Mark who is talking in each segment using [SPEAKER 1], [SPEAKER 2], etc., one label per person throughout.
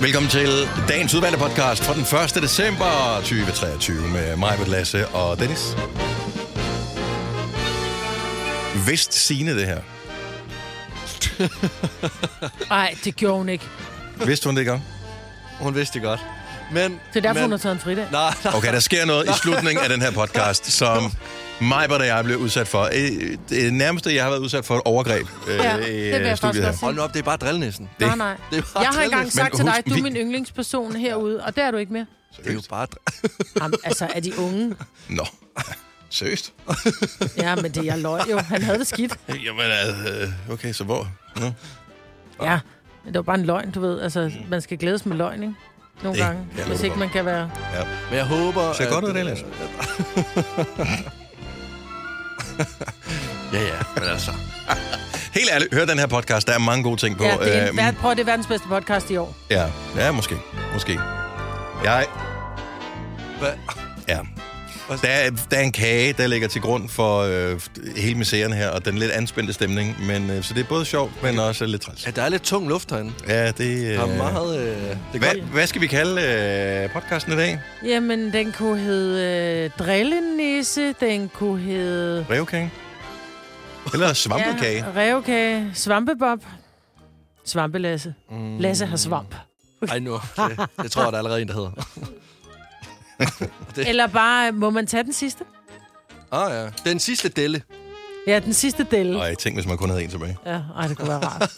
[SPEAKER 1] Velkommen til dagens udvalgte podcast fra den 1. december 2023 med mig, med Lasse og Dennis. Vist sine det her.
[SPEAKER 2] Nej, det gjorde hun ikke.
[SPEAKER 1] Vidste hun det ikke om?
[SPEAKER 3] Hun vidste det godt. Men,
[SPEAKER 2] Det er derfor,
[SPEAKER 3] men,
[SPEAKER 2] hun har taget en fridag.
[SPEAKER 3] Nej, nej.
[SPEAKER 1] Okay, der sker noget i slutningen af den her podcast, som mig og jeg blev udsat for. Øh, Det nærmeste, jeg har været udsat for et overgreb øh,
[SPEAKER 2] Ja, det vil
[SPEAKER 1] i
[SPEAKER 2] jeg
[SPEAKER 1] øh,
[SPEAKER 2] faktisk
[SPEAKER 1] studiet her.
[SPEAKER 2] også sige.
[SPEAKER 3] Hold nu op, det er bare drillnæsen.
[SPEAKER 1] det-
[SPEAKER 2] Nej, nej.
[SPEAKER 3] det er bare
[SPEAKER 2] Jeg har engang
[SPEAKER 3] trillet.
[SPEAKER 2] sagt
[SPEAKER 1] Men
[SPEAKER 2] til dig,
[SPEAKER 1] husk,
[SPEAKER 2] at du er
[SPEAKER 1] vi-
[SPEAKER 2] min yndlingsperson herude, og der er du ikke mere.
[SPEAKER 3] Det er jo bare... dr-
[SPEAKER 2] Jamen, altså, er de unge?
[SPEAKER 1] Nå, seriøst?
[SPEAKER 2] Ja, men det jeg løg jo. Han havde det skidt.
[SPEAKER 1] Jamen, øh, okay, så hvor? Nå.
[SPEAKER 2] Ja, men det var bare en løgn, du ved. Altså, man skal glædes med løgn, ikke? Nogle
[SPEAKER 1] Det
[SPEAKER 2] det, gange,
[SPEAKER 1] kan jeg
[SPEAKER 2] hvis
[SPEAKER 1] love
[SPEAKER 2] ikke
[SPEAKER 1] for.
[SPEAKER 2] man kan være...
[SPEAKER 3] Men jeg håber...
[SPEAKER 1] Ser
[SPEAKER 3] at-
[SPEAKER 1] godt ud, det, Lasse.
[SPEAKER 3] Ja, ja, men altså...
[SPEAKER 1] Helt ærligt, hør den her podcast. Der er mange gode ting på.
[SPEAKER 2] Ja, det er,
[SPEAKER 1] Øhm,
[SPEAKER 2] en, ver- prøv, at det er verdens bedste podcast i år.
[SPEAKER 1] Ja, ja måske. Måske. Jeg
[SPEAKER 3] øh, Hvad?
[SPEAKER 1] Ja. Der er, der er en kage, der ligger til grund for øh, hele misæren her, og den lidt anspændte stemning. Men, øh, så det er både sjovt, men også lidt træls.
[SPEAKER 3] Ja, der er lidt tung luft herinde.
[SPEAKER 1] Ja, det... Øh,
[SPEAKER 3] Der er meget... Øh, det er
[SPEAKER 1] hvad,
[SPEAKER 3] godt.
[SPEAKER 1] hvad skal vi kalde øh, podcasten i dag?
[SPEAKER 2] Jamen, den kunne hedde øh, Drillenisse, den kunne hedde...
[SPEAKER 1] Revkage? Eller svampekage?
[SPEAKER 2] Ja, revkage, svampebob, svampelasse. Mm. Lasse har svamp.
[SPEAKER 3] Ej, nu. Det, det tror jeg, der er allerede en, der hedder.
[SPEAKER 2] Eller bare, øh, må man tage den sidste?
[SPEAKER 3] Ah, ja. Den sidste delle.
[SPEAKER 2] Ja, den sidste del.
[SPEAKER 1] Og jeg tænkte, hvis man kun havde en tilbage.
[SPEAKER 2] Ja, ej, det kunne være rart.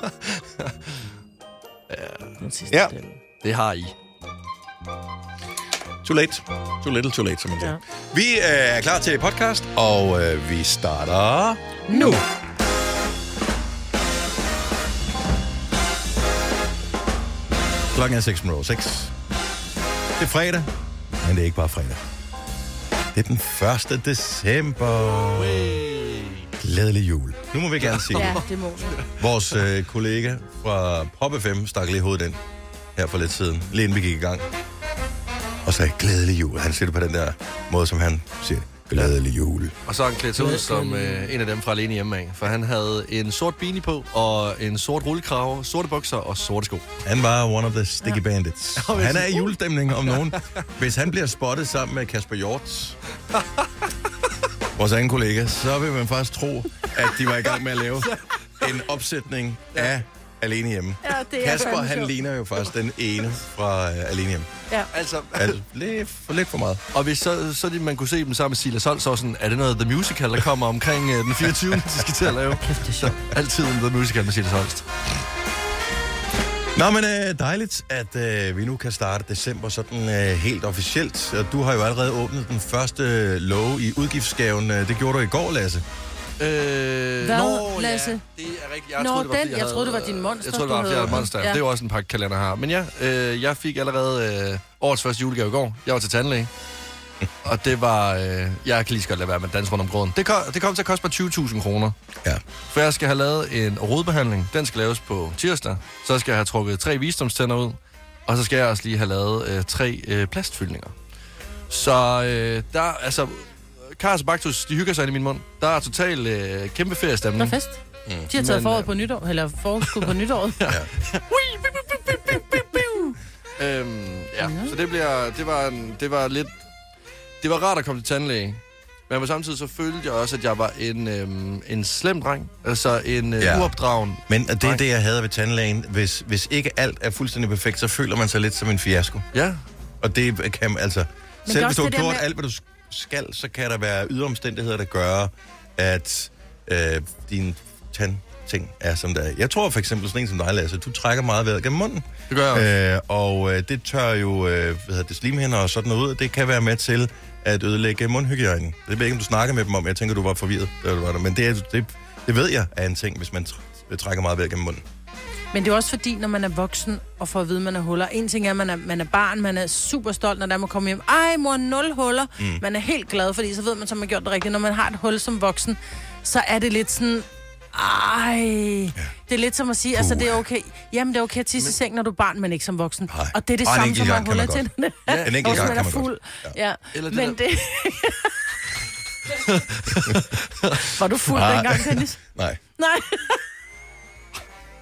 [SPEAKER 2] den sidste
[SPEAKER 1] Ja.
[SPEAKER 2] ja. del.
[SPEAKER 3] Det har I.
[SPEAKER 1] Too late. Too little, too late, som man siger.
[SPEAKER 2] Ja.
[SPEAKER 1] Vi øh, er klar til podcast, og øh, vi starter...
[SPEAKER 2] Nu!
[SPEAKER 1] Klokken er 6 minutter over 6. Det er fredag, men det er ikke bare fredag. Det er den 1. december. Glædelig jul. Nu må vi gerne sige
[SPEAKER 2] Ja,
[SPEAKER 1] det.
[SPEAKER 2] det må vi.
[SPEAKER 1] Vores øh, kollega fra Pop FM stak lige hovedet ind her for lidt siden, lige inden vi gik i gang. Og sagde, glædelig jul. Han siger det på den der måde, som han siger det. Glædelig jul.
[SPEAKER 3] Og så har han klædt sig ud som øh, en af dem fra alene hjemme af. For han havde en sort beanie på, og en sort rullekrave, sorte bukser og sorte sko.
[SPEAKER 1] Han var one of the sticky bandits.
[SPEAKER 3] Og hvis-
[SPEAKER 1] Han
[SPEAKER 2] Uh.
[SPEAKER 1] er i julestemning om nogen. Hvis han bliver spottet sammen med Kasper Hjort, vores anden kollega, så vil man faktisk tro, at de var i gang med at lave en opsætning af Alene Hjemme.
[SPEAKER 2] Ja, det er
[SPEAKER 1] Kasper,
[SPEAKER 2] fandme
[SPEAKER 1] han
[SPEAKER 2] sjovt.
[SPEAKER 1] ligner jo faktisk den ene fra uh, Alene Hjemme.
[SPEAKER 3] Altså,
[SPEAKER 1] Altså, lidt for, lidt for meget.
[SPEAKER 3] og hvis så, så de, man kunne se dem sammen med Silas Sol, så var sådan, er det noget The Musical, der kommer omkring øh, den 24. de skal til at lave?
[SPEAKER 2] Kæft, det er
[SPEAKER 3] Så
[SPEAKER 2] sjovt.
[SPEAKER 3] altid en The Musical med Silas Holst.
[SPEAKER 1] Nå, men øh, dejligt, at øh, vi nu kan starte december sådan øh, helt officielt. Og Du har jo allerede åbnet den første lov i udgiftsgaven. Øh, Det gjorde du i går, Lasse.
[SPEAKER 3] Øh,
[SPEAKER 2] Hvad, Lasse?
[SPEAKER 3] Ja, det er rigtigt. Jeg
[SPEAKER 2] Nå,
[SPEAKER 3] troede, det var,
[SPEAKER 2] den.
[SPEAKER 3] fordi
[SPEAKER 2] Jeg
[SPEAKER 3] havde-
[SPEAKER 2] troede, det var din monster,
[SPEAKER 3] Jeg troede, det
[SPEAKER 2] du
[SPEAKER 3] var, fordi jeg
[SPEAKER 2] havde.
[SPEAKER 3] havde et monster. Ja.
[SPEAKER 2] Ja.
[SPEAKER 3] Det er jo også en pakke kalender her. Men ja, øh, jeg fik allerede øh, årets første julegave i går. Jeg var til tandlæge. og det var... Øh, jeg kan lige så godt lade være med at danse rundt om gråden. Det, kom, det kom til at koste mig 20.000 kroner.
[SPEAKER 1] Ja.
[SPEAKER 3] For jeg skal have lavet en rodbehandling. Den skal laves på tirsdag. Så skal jeg have trukket tre visdomstænder ud. Og så skal jeg også lige have lavet øh, tre øh, plastfyldninger. Så øh, der, altså... Kars og Baktus, de hygger sig ind i min mund. Der er total øh, kæmpe
[SPEAKER 2] Der er
[SPEAKER 3] feriestemning.
[SPEAKER 2] fest.
[SPEAKER 1] Mm.
[SPEAKER 2] De har taget
[SPEAKER 3] Men,
[SPEAKER 2] foråret
[SPEAKER 3] øh,
[SPEAKER 2] på nytår, eller forårskud på nytåret.
[SPEAKER 3] Øhm, ja, så det bliver, det var, en, det var lidt, det var rart at komme til tandlæge. Men på samme tid så følte jeg også, at jeg var en, øhm, en slem dreng. Altså en øh,
[SPEAKER 1] Ja.
[SPEAKER 3] ja. uopdragen.
[SPEAKER 1] Men og det er
[SPEAKER 3] Nej.
[SPEAKER 1] det, jeg havde ved tandlægen. Hvis, hvis ikke alt er fuldstændig perfekt, så føler man sig lidt som en fiasko.
[SPEAKER 3] Ja,
[SPEAKER 1] Og det kan altså... Men
[SPEAKER 2] det
[SPEAKER 1] selv
[SPEAKER 2] er
[SPEAKER 1] hvis du har
[SPEAKER 2] også det der
[SPEAKER 1] gjort med...
[SPEAKER 2] med-
[SPEAKER 1] alt, hvad du skal, så kan der være yderomstændigheder, der gør, at øh, din tandting er som der er. Jeg tror for eksempel sådan en som dig, Lasse, du trækker meget vejret gennem munden.
[SPEAKER 3] det gør jeg også.
[SPEAKER 1] Øh, og øh, det tør jo øh, hvad hedder det, slimhinder og sådan noget ud. Det kan være med til at ødelægge mundhygiejnen. Det ved jeg ikke, om du snakker med dem om. Jeg tænker, du var forvirret. da du var der. Men det, er- det, det ved jeg er en ting, hvis man tr- trækker meget vejr gennem munden.
[SPEAKER 2] Men det er jo også fordi, når man er voksen og får at vide, at man er huller. En ting er, at man er, man er barn, man er super stolt, når der man kommer hjem. Ej, mor, nul huller. Mm. Man er helt glad, fordi så ved man, så man har gjort det rigtigt. Når man har et hul som voksen, så er det lidt sådan... Ej, det er lidt som at sige, altså det er okay. Jamen, det er okay at tisse i seng, når du er barn, men ikke som voksen.
[SPEAKER 1] Nej.
[SPEAKER 2] Og det er det
[SPEAKER 1] Og en
[SPEAKER 2] samme,
[SPEAKER 1] enkelt
[SPEAKER 2] som at
[SPEAKER 1] gang
[SPEAKER 2] have
[SPEAKER 1] kan
[SPEAKER 2] huller
[SPEAKER 1] man
[SPEAKER 2] i
[SPEAKER 1] godt.
[SPEAKER 2] tænderne.
[SPEAKER 1] Ja, en enkelt
[SPEAKER 2] Også
[SPEAKER 1] gang
[SPEAKER 2] man
[SPEAKER 1] kan man
[SPEAKER 2] er fuld. Ja.
[SPEAKER 3] Eller
[SPEAKER 2] ja.
[SPEAKER 3] det
[SPEAKER 2] Men
[SPEAKER 3] der-
[SPEAKER 2] det... Var du fuld
[SPEAKER 1] Nej.
[SPEAKER 2] dengang, Dennis?
[SPEAKER 1] Nej.
[SPEAKER 2] Nej.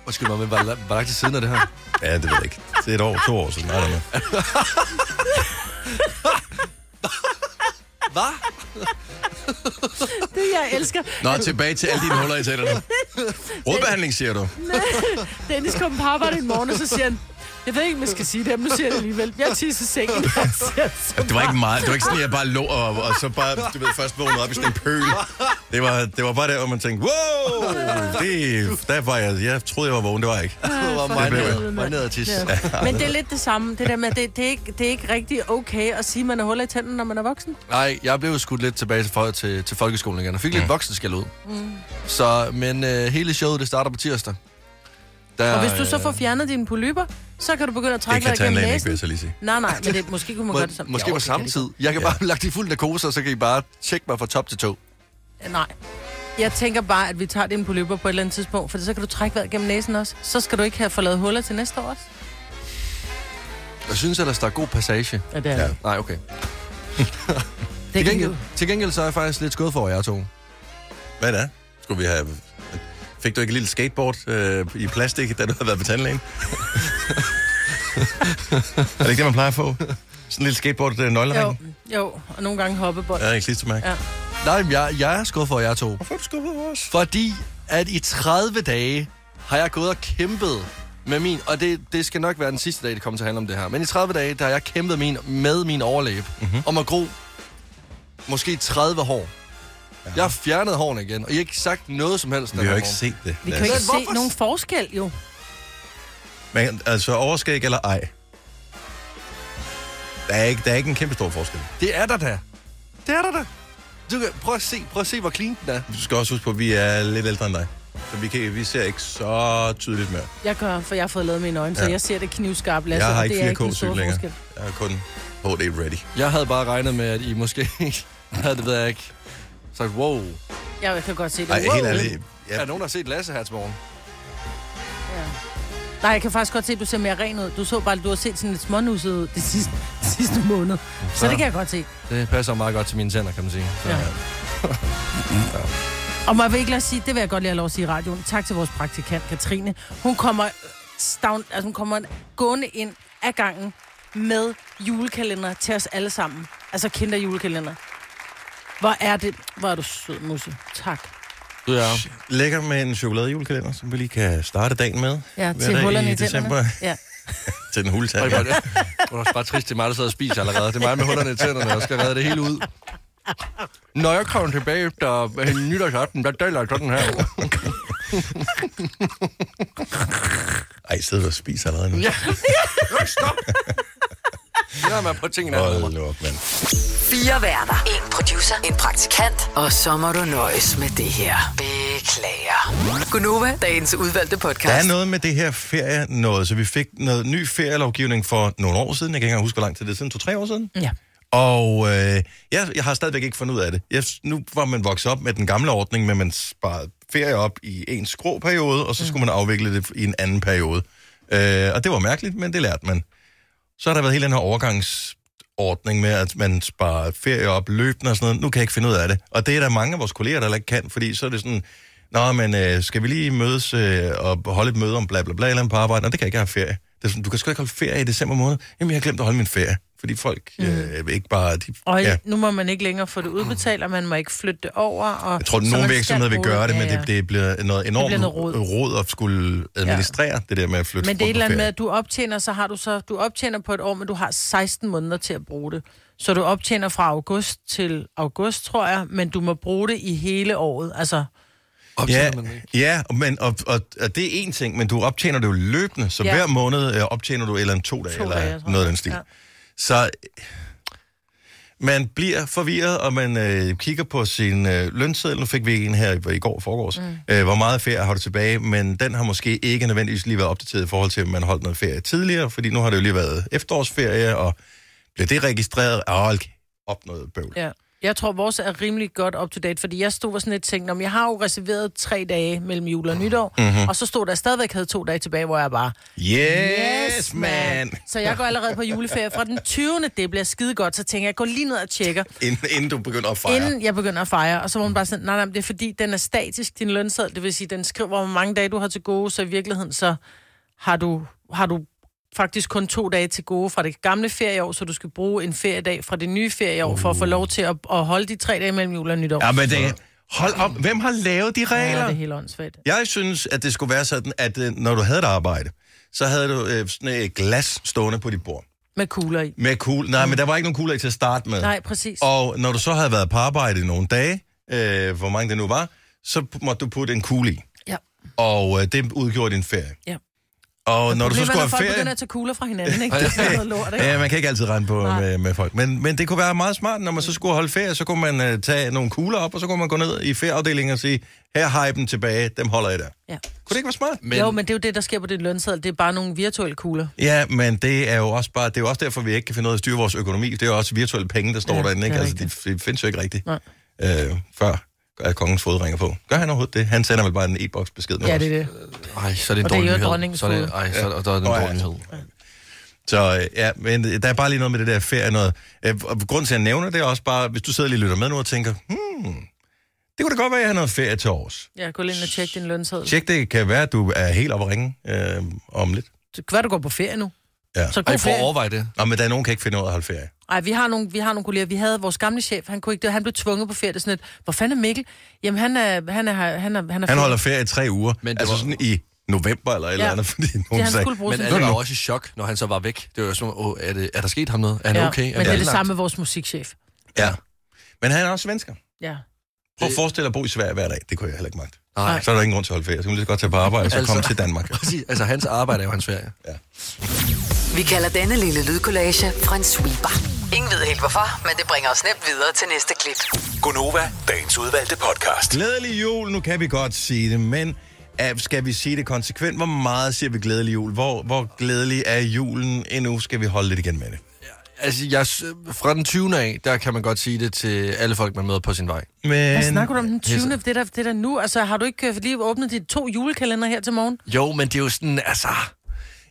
[SPEAKER 3] Undskyld mig, men hvor, la- hvor langt til siden er det her?
[SPEAKER 1] Ja, det ved jeg ikke. Det er et år, to år siden. Nej, nej, nej.
[SPEAKER 3] Hvad?
[SPEAKER 2] Det, jeg elsker.
[SPEAKER 1] Nå, tilbage til alle dine huller i tænderne. Rådbehandling, siger du.
[SPEAKER 2] Dennis kom på arbejde en morgen, og så siger han, jeg ved ikke, om jeg skal sige det, men nu siger jeg det alligevel. Jeg tisser sengen. Jeg siger, så
[SPEAKER 1] Det var ikke meget. Det var ikke sådan, at jeg bare lå og, og så bare, du ved, først vågnede op i sådan en pøl. Det var, det var bare der, hvor man tænkte, wow, det, der var jeg, jeg troede, jeg var vågen, det var jeg ikke.
[SPEAKER 3] Det var mig
[SPEAKER 1] blev
[SPEAKER 3] ned,
[SPEAKER 2] jeg.
[SPEAKER 3] mig ned og tis.
[SPEAKER 2] Ja. Men det er lidt det samme. Det, der med, det, det, er ikke, det er ikke rigtig okay at sige, at man har huller i tænderne, når man er voksen.
[SPEAKER 3] Nej, jeg blev skudt lidt tilbage til, fol- til, til folkeskolen igen. Jeg fik lidt voksenskæld ud. Mm. Så, men øh, hele showet, det starter på tirsdag. Der,
[SPEAKER 2] Og hvis du så
[SPEAKER 3] øh,
[SPEAKER 2] får fjernet dine polypper, så kan du begynde at
[SPEAKER 1] Det
[SPEAKER 2] trække
[SPEAKER 1] kan
[SPEAKER 2] vejret gennem
[SPEAKER 1] tandlægen ikke, vil
[SPEAKER 2] næsen.
[SPEAKER 1] jeg så lige sige.
[SPEAKER 2] Nej, nej, men det, måske kunne man
[SPEAKER 3] Må,
[SPEAKER 2] gøre det sammen.
[SPEAKER 3] måske på samme tid. Jeg kan
[SPEAKER 1] Ja.
[SPEAKER 3] bare ja. lagt i fuld narkose, og så kan I bare tjekke mig fra top til to.
[SPEAKER 2] Nej. Jeg tænker bare, at vi tager dine polypper på et eller andet tidspunkt, for så kan du trække vejret gennem næsen også. Så skal du ikke have forladet huller til næste år også.
[SPEAKER 3] Jeg synes ellers, der er god passage.
[SPEAKER 2] Ja, det er
[SPEAKER 1] Ja.
[SPEAKER 2] det.
[SPEAKER 3] Nej, okay.
[SPEAKER 2] Det
[SPEAKER 3] Til
[SPEAKER 2] kan
[SPEAKER 3] gengæld,
[SPEAKER 2] jo.
[SPEAKER 3] til gengæld så er jeg faktisk lidt skuffet over jer to.
[SPEAKER 1] Hvad er det? Skulle vi have... Fik du ikke et lille skateboard øh, i plastik, da du havde været på tandlægen? er det ikke det, man plejer at få? Sådan en lille skateboard øh,
[SPEAKER 2] Jo,
[SPEAKER 1] nøglering?
[SPEAKER 2] jo, og nogle gange hoppebold.
[SPEAKER 1] Ja, ikke klistermærke.
[SPEAKER 2] Ja.
[SPEAKER 1] Ja.
[SPEAKER 3] Nej, men jeg, jeg er skuffet over jer to.
[SPEAKER 1] Hvorfor er du skubbet os?
[SPEAKER 3] Fordi at i 30 dage har jeg gået og kæmpet med min, og det, det skal nok være den sidste dag, det kommer til at handle om det her, men i 30 dage, der har jeg kæmpet min, med min overlæb
[SPEAKER 1] Mhm.
[SPEAKER 3] mm-hmm. om at gro måske 30 hår. Ja. Jeg har fjernet hårene igen, og I har ikke sagt noget som helst. den
[SPEAKER 1] Vi har
[SPEAKER 3] her
[SPEAKER 1] jo ikke set
[SPEAKER 3] morgen.
[SPEAKER 1] det.
[SPEAKER 2] Vi kan
[SPEAKER 1] Lasse.
[SPEAKER 2] jo ikke
[SPEAKER 3] Men hvorfor-
[SPEAKER 2] se nogen forskel, jo.
[SPEAKER 1] Men altså, overskæg eller ej? Der er ikke, der er ikke en kæmpe stor forskel.
[SPEAKER 3] Det er der da. Det er der da. Du kan, prøv at se, prøv at se, hvor clean den er.
[SPEAKER 1] Du skal også huske på, at vi er lidt ældre end dig. Så vi, kan, vi ser ikke så tydeligt mere.
[SPEAKER 2] Jeg gør, for jeg har fået lavet mine øjne, så
[SPEAKER 1] Ja.
[SPEAKER 2] jeg ser det knivskarpt, Lasse.
[SPEAKER 1] jeg har
[SPEAKER 2] og
[SPEAKER 1] ikke
[SPEAKER 2] det er ikke den
[SPEAKER 1] 4K
[SPEAKER 2] store
[SPEAKER 1] cykel længere.
[SPEAKER 2] forskel.
[SPEAKER 1] Jeg er kun HD ready.
[SPEAKER 3] Jeg havde bare regnet med, at I måske havde det, ved jeg ikke. Så wow. Er
[SPEAKER 2] Jeg kan godt se det.
[SPEAKER 1] Nej,
[SPEAKER 2] Wow.
[SPEAKER 1] helt ærligt. Ja,
[SPEAKER 3] der nogen, der har set Lasse her til morgen?
[SPEAKER 2] Ja. Nej, jeg kan faktisk godt se, at du ser mere ren ud. Du så bare, at du har set sådan lidt smånusset ud det sidste, det sidste måned. Så
[SPEAKER 3] Ja.
[SPEAKER 2] det kan jeg godt se.
[SPEAKER 3] Det passer meget godt til mine tænder, kan man sige. Så,
[SPEAKER 2] Ja.
[SPEAKER 3] ja.
[SPEAKER 2] Og må jeg ikke lade sige, det vil jeg godt lige have lov at sige i radioen. Tak til vores praktikant, Katrine. Hun kommer, stavn, altså hun kommer gående ind ad gangen med julekalender til os alle sammen. Altså kinderjulekalender. Hvor er det? Hvor er du sød, Musse. Tak.
[SPEAKER 3] Du er
[SPEAKER 1] Lækker med en chokoladejulekalender, som vi lige kan starte dagen med.
[SPEAKER 2] Ja,
[SPEAKER 1] Hver
[SPEAKER 2] til
[SPEAKER 1] dag
[SPEAKER 2] hullerne i
[SPEAKER 1] december.
[SPEAKER 2] tænderne. Ja.
[SPEAKER 1] til den
[SPEAKER 3] Og I
[SPEAKER 1] huletand.
[SPEAKER 3] var
[SPEAKER 1] Ja.
[SPEAKER 3] det. Det var også bare trist, det er mig, der sidder og spiser allerede. Det er mig med hullerne i tænderne, der skal redde det hele ud. Når jeg kommer tilbage efter øh, nytårsaften, der daler jeg sådan her.
[SPEAKER 1] Ej, sidder du og spiser allerede nu?
[SPEAKER 3] Ja, Nå, stop! Jeg er med på tingene.
[SPEAKER 1] Hold nu op, mand.
[SPEAKER 4] Fire værter. En producer. En praktikant. Og så må du nøjes med det her. Beklager. Gunova, dagens
[SPEAKER 1] Der
[SPEAKER 4] udvalgte
[SPEAKER 1] er
[SPEAKER 4] podcast.
[SPEAKER 1] noget med det her ferie noget, så vi fik noget ny ferielovgivning for nogle år siden. Jeg kan ikke engang huske, hvor lang tid det er siden. To-tre år siden?
[SPEAKER 2] Ja.
[SPEAKER 1] Og øh, jeg, jeg har stadigvæk ikke fundet ud af det. Jeg, nu var man vokset op med den gamle ordning, men man sparede ferie op i en skrå periode, og så skulle man afvikle det i en anden periode. Øh, og det var mærkeligt, men det lærte man. Så har der været hele den her overgangsordning med, at man sparer ferie op løbende og sådan noget. Nu kan jeg ikke finde ud af det. Og det er der mange af vores kolleger, der heller ikke kan, fordi så er det sådan, Nå, men øh, skal vi lige mødes øh, og holde et møde om bla bla bla eller andet på arbejde? Nå, det kan jeg ikke jeg har ferie. Det er sådan, du kan sgu ikke holde ferie i december måned. Jamen, jeg har glemt at holde min ferie. Fordi folk øh, ikke bare... De,
[SPEAKER 2] Mm. Og
[SPEAKER 1] ja.
[SPEAKER 2] ja. nu må man ikke længere få det udbetalt, og man må ikke flytte det over. Og
[SPEAKER 1] Jeg tror, at nogle
[SPEAKER 2] så man skal
[SPEAKER 1] virksomheder vil
[SPEAKER 2] bruge
[SPEAKER 1] gøre det,
[SPEAKER 2] Ja,
[SPEAKER 1] men
[SPEAKER 2] ja.
[SPEAKER 1] det, det bliver noget enormt
[SPEAKER 2] bliver noget
[SPEAKER 1] rod.
[SPEAKER 2] rod.
[SPEAKER 1] rod at skulle administrere ja. det der med at flytte
[SPEAKER 2] Men det er et
[SPEAKER 1] rundt på
[SPEAKER 2] eller andet med,
[SPEAKER 1] ferie.
[SPEAKER 2] at du optjener, så har du så, du optjener på et år, men du har 16 måneder til at bruge det. Så du optjener fra august til august, tror jeg, men du må bruge det i hele året. Altså,
[SPEAKER 3] Ja.
[SPEAKER 1] Ja, ja og men, og, og, og det er en ting, men du optjener det jo løbende, så ja.
[SPEAKER 2] Ja.
[SPEAKER 1] hver måned øh, optjener du et eller andet to dage,
[SPEAKER 2] To
[SPEAKER 1] eller
[SPEAKER 2] dage, jeg tror
[SPEAKER 1] noget af
[SPEAKER 2] jeg.
[SPEAKER 1] den stil. Ja.
[SPEAKER 2] Ja.
[SPEAKER 1] Så øh, man bliver forvirret, og man øh, kigger på sin øh, lønseddel. Nu fik vi en her i, i går og forgårs. Mm. Øh, hvor meget ferie har du tilbage? Men den har måske ikke nødvendigvis lige været opdateret i forhold til, om man holdt noget ferie tidligere, fordi nu har det jo lige været efterårsferie, og bliver det registreret? Åh, hold op noget bøvl.
[SPEAKER 2] ja. Jeg tror, vores er rimelig godt up-to-date, fordi jeg stod og sådan lidt tænkt, om jeg har jo reserveret tre dage mellem jul og nytår,
[SPEAKER 1] Mhm.
[SPEAKER 2] mm-hmm. og så stod der stadigvæk havde to dage tilbage, hvor jeg bare,
[SPEAKER 1] Yes, yes man!
[SPEAKER 2] Så jeg går allerede på juleferie fra den 20. Det bliver skide godt, så tænker jeg, jeg går lige ned og tjekker,
[SPEAKER 1] Inden, inden du begynder at fejre.
[SPEAKER 2] inden jeg begynder at fejre. Og så var hun bare sådan, nej, nej, men det er fordi, den er statisk, din lønseddel. Det vil sige, den skriver, hvor mange dage du har til gode, så i virkeligheden så har du, har du faktisk kun to dage til gode fra det gamle ferieår, så du skal bruge en feriedag fra det nye ferieår, uh. for at få lov til at, at holde de tre dage mellem jul og nytår.
[SPEAKER 1] Ja, men det... Hold op, hvem har lavet de
[SPEAKER 2] Ja, det
[SPEAKER 1] regler?
[SPEAKER 2] er helt åndssvagt.
[SPEAKER 1] Jeg synes, at det skulle være sådan, at øh, når du havde et arbejde, så havde du øh, sådan et glas stående på dit bord.
[SPEAKER 2] Med kugler i.
[SPEAKER 1] Med kugle. Nej, men der var ikke nogen kugler i til at starte med.
[SPEAKER 2] Nej, præcis.
[SPEAKER 1] Og når du så havde været på arbejde i nogle dage, øh, hvor mange det nu var, så p- måtte du putte en kugle i.
[SPEAKER 2] Ja.
[SPEAKER 1] Og øh, det udgjorde din ferie.
[SPEAKER 2] Ja.
[SPEAKER 1] Og når du så
[SPEAKER 2] Problemet er,
[SPEAKER 1] skulle
[SPEAKER 2] når
[SPEAKER 1] have
[SPEAKER 2] folk
[SPEAKER 1] ferie...
[SPEAKER 2] begynder at tage kugler fra hinanden, ikke? Det er noget lort, ikke?
[SPEAKER 1] Ja, man kan ikke altid regne på
[SPEAKER 2] Nej.
[SPEAKER 1] med, med folk. Men, men det kunne være meget smart, når man så skulle holde ferie, så kunne man øh, tage nogle kugler op, og så kunne man gå ned i ferieafdelingen og sige, her har I dem tilbage, dem holder I der.
[SPEAKER 2] Ja.
[SPEAKER 1] Kunne det ikke være smart?
[SPEAKER 2] Men... Jo, men det er jo det, der sker på din lønseddel. Det er bare nogle virtuelle kugler.
[SPEAKER 1] Ja, men det er jo også bare, det er jo også derfor, vi ikke kan finde ud af at styre vores økonomi. Det er jo også virtuelle penge, der står
[SPEAKER 2] Ja,
[SPEAKER 1] ja, derinde, ikke?
[SPEAKER 2] det er
[SPEAKER 1] Altså, det, det findes jo ikke rigtigt. Øh, før at kongens fod ringer på. Gør han overhovedet det? Han sender vel bare en e-boks besked nu.
[SPEAKER 2] Ja,
[SPEAKER 1] også.
[SPEAKER 2] det er det.
[SPEAKER 3] Ej, så er det en
[SPEAKER 2] Og det er
[SPEAKER 3] dårlig
[SPEAKER 2] jo
[SPEAKER 3] nyhed.
[SPEAKER 2] dronningens
[SPEAKER 3] Så er det,
[SPEAKER 2] fod.
[SPEAKER 3] ej, så, og der er det en
[SPEAKER 1] Åh, ja.
[SPEAKER 3] dårlig nyhed.
[SPEAKER 1] Så øh, ja, men der er bare lige noget med det der ferie. Noget. Øh, og grunden til, at jeg nævner det, er også bare, hvis du sidder og lige og lytter med nu og tænker, hmm, det kunne da godt være, at jeg har noget ferie til års.
[SPEAKER 2] Ja, gå lige ind og tjek din lønseddel.
[SPEAKER 1] Tjek det, kan være, at du er helt oppe at ringe øh, om lidt.
[SPEAKER 2] Det kan være, du går på ferie nu.
[SPEAKER 1] Ja.
[SPEAKER 2] Så
[SPEAKER 3] Ej,
[SPEAKER 2] god
[SPEAKER 3] for at
[SPEAKER 2] ferie.
[SPEAKER 3] overveje det.
[SPEAKER 1] Nå, men der er nogen, der kan ikke finde ud af at holde ferie.
[SPEAKER 2] Ej, vi har, nogle, vi har nogle kolleger. Vi havde vores gamle chef, han, kunne ikke, det- han blev tvunget på ferie. Det er Sådan et, hvor fanden er Mikkel? Jamen, han er... Han, er, han, er, han, er
[SPEAKER 1] Han holder ferie i tre uger, men
[SPEAKER 3] Men det
[SPEAKER 1] altså
[SPEAKER 3] var-
[SPEAKER 1] sådan i november eller et eller
[SPEAKER 2] Ja.
[SPEAKER 1] andet, fordi
[SPEAKER 2] Det,
[SPEAKER 1] nogen
[SPEAKER 2] han
[SPEAKER 1] sagde,
[SPEAKER 2] skulle bruge
[SPEAKER 3] Men
[SPEAKER 2] sin
[SPEAKER 3] alle var også i chok, når han så var væk. Det var jo sådan, åh, er, det, er der sket ham noget? Er han
[SPEAKER 2] Ja,
[SPEAKER 3] okay?
[SPEAKER 2] men det er det
[SPEAKER 3] anlagt?
[SPEAKER 2] samme med vores musikchef.
[SPEAKER 1] ja. Men han er også svensker.
[SPEAKER 2] Ja.
[SPEAKER 1] Prøv at forestille dig at bo i Sverige hver dag. Det kunne jeg heller ikke magte.
[SPEAKER 3] Nej.
[SPEAKER 1] Så er der ingen grund til at holde ferie. Så kan man lige så godt tage på arbejde, og så
[SPEAKER 3] Altså.
[SPEAKER 1] komme til Danmark.
[SPEAKER 3] Præcis. Altså, hans arbejde er jo hans ferie.
[SPEAKER 4] Vi kalder denne lille lydkollage Frans sweeper. Ingen ved helt hvorfor, men det bringer os nemt videre til næste klip.
[SPEAKER 5] Gunova, dagens udvalgte podcast.
[SPEAKER 1] Glædelig jul, nu kan vi godt sige det, men øh, skal vi sige det konsekvent? Hvor meget siger vi glædelig jul? Hvor, hvor glædelig er julen? Endnu skal vi holde lidt igen med det.
[SPEAKER 3] Altså, jeg, s- fra den 20. af, der kan man godt sige det til alle folk, man møder på sin vej.
[SPEAKER 1] Men,
[SPEAKER 2] Hvad snakker du om den 20.
[SPEAKER 3] Hisse.
[SPEAKER 2] Det er der, det er der nu. Altså, har du ikke øh, lige åbnet de to julekalender her til morgen?
[SPEAKER 3] Jo, men det er jo sådan, altså...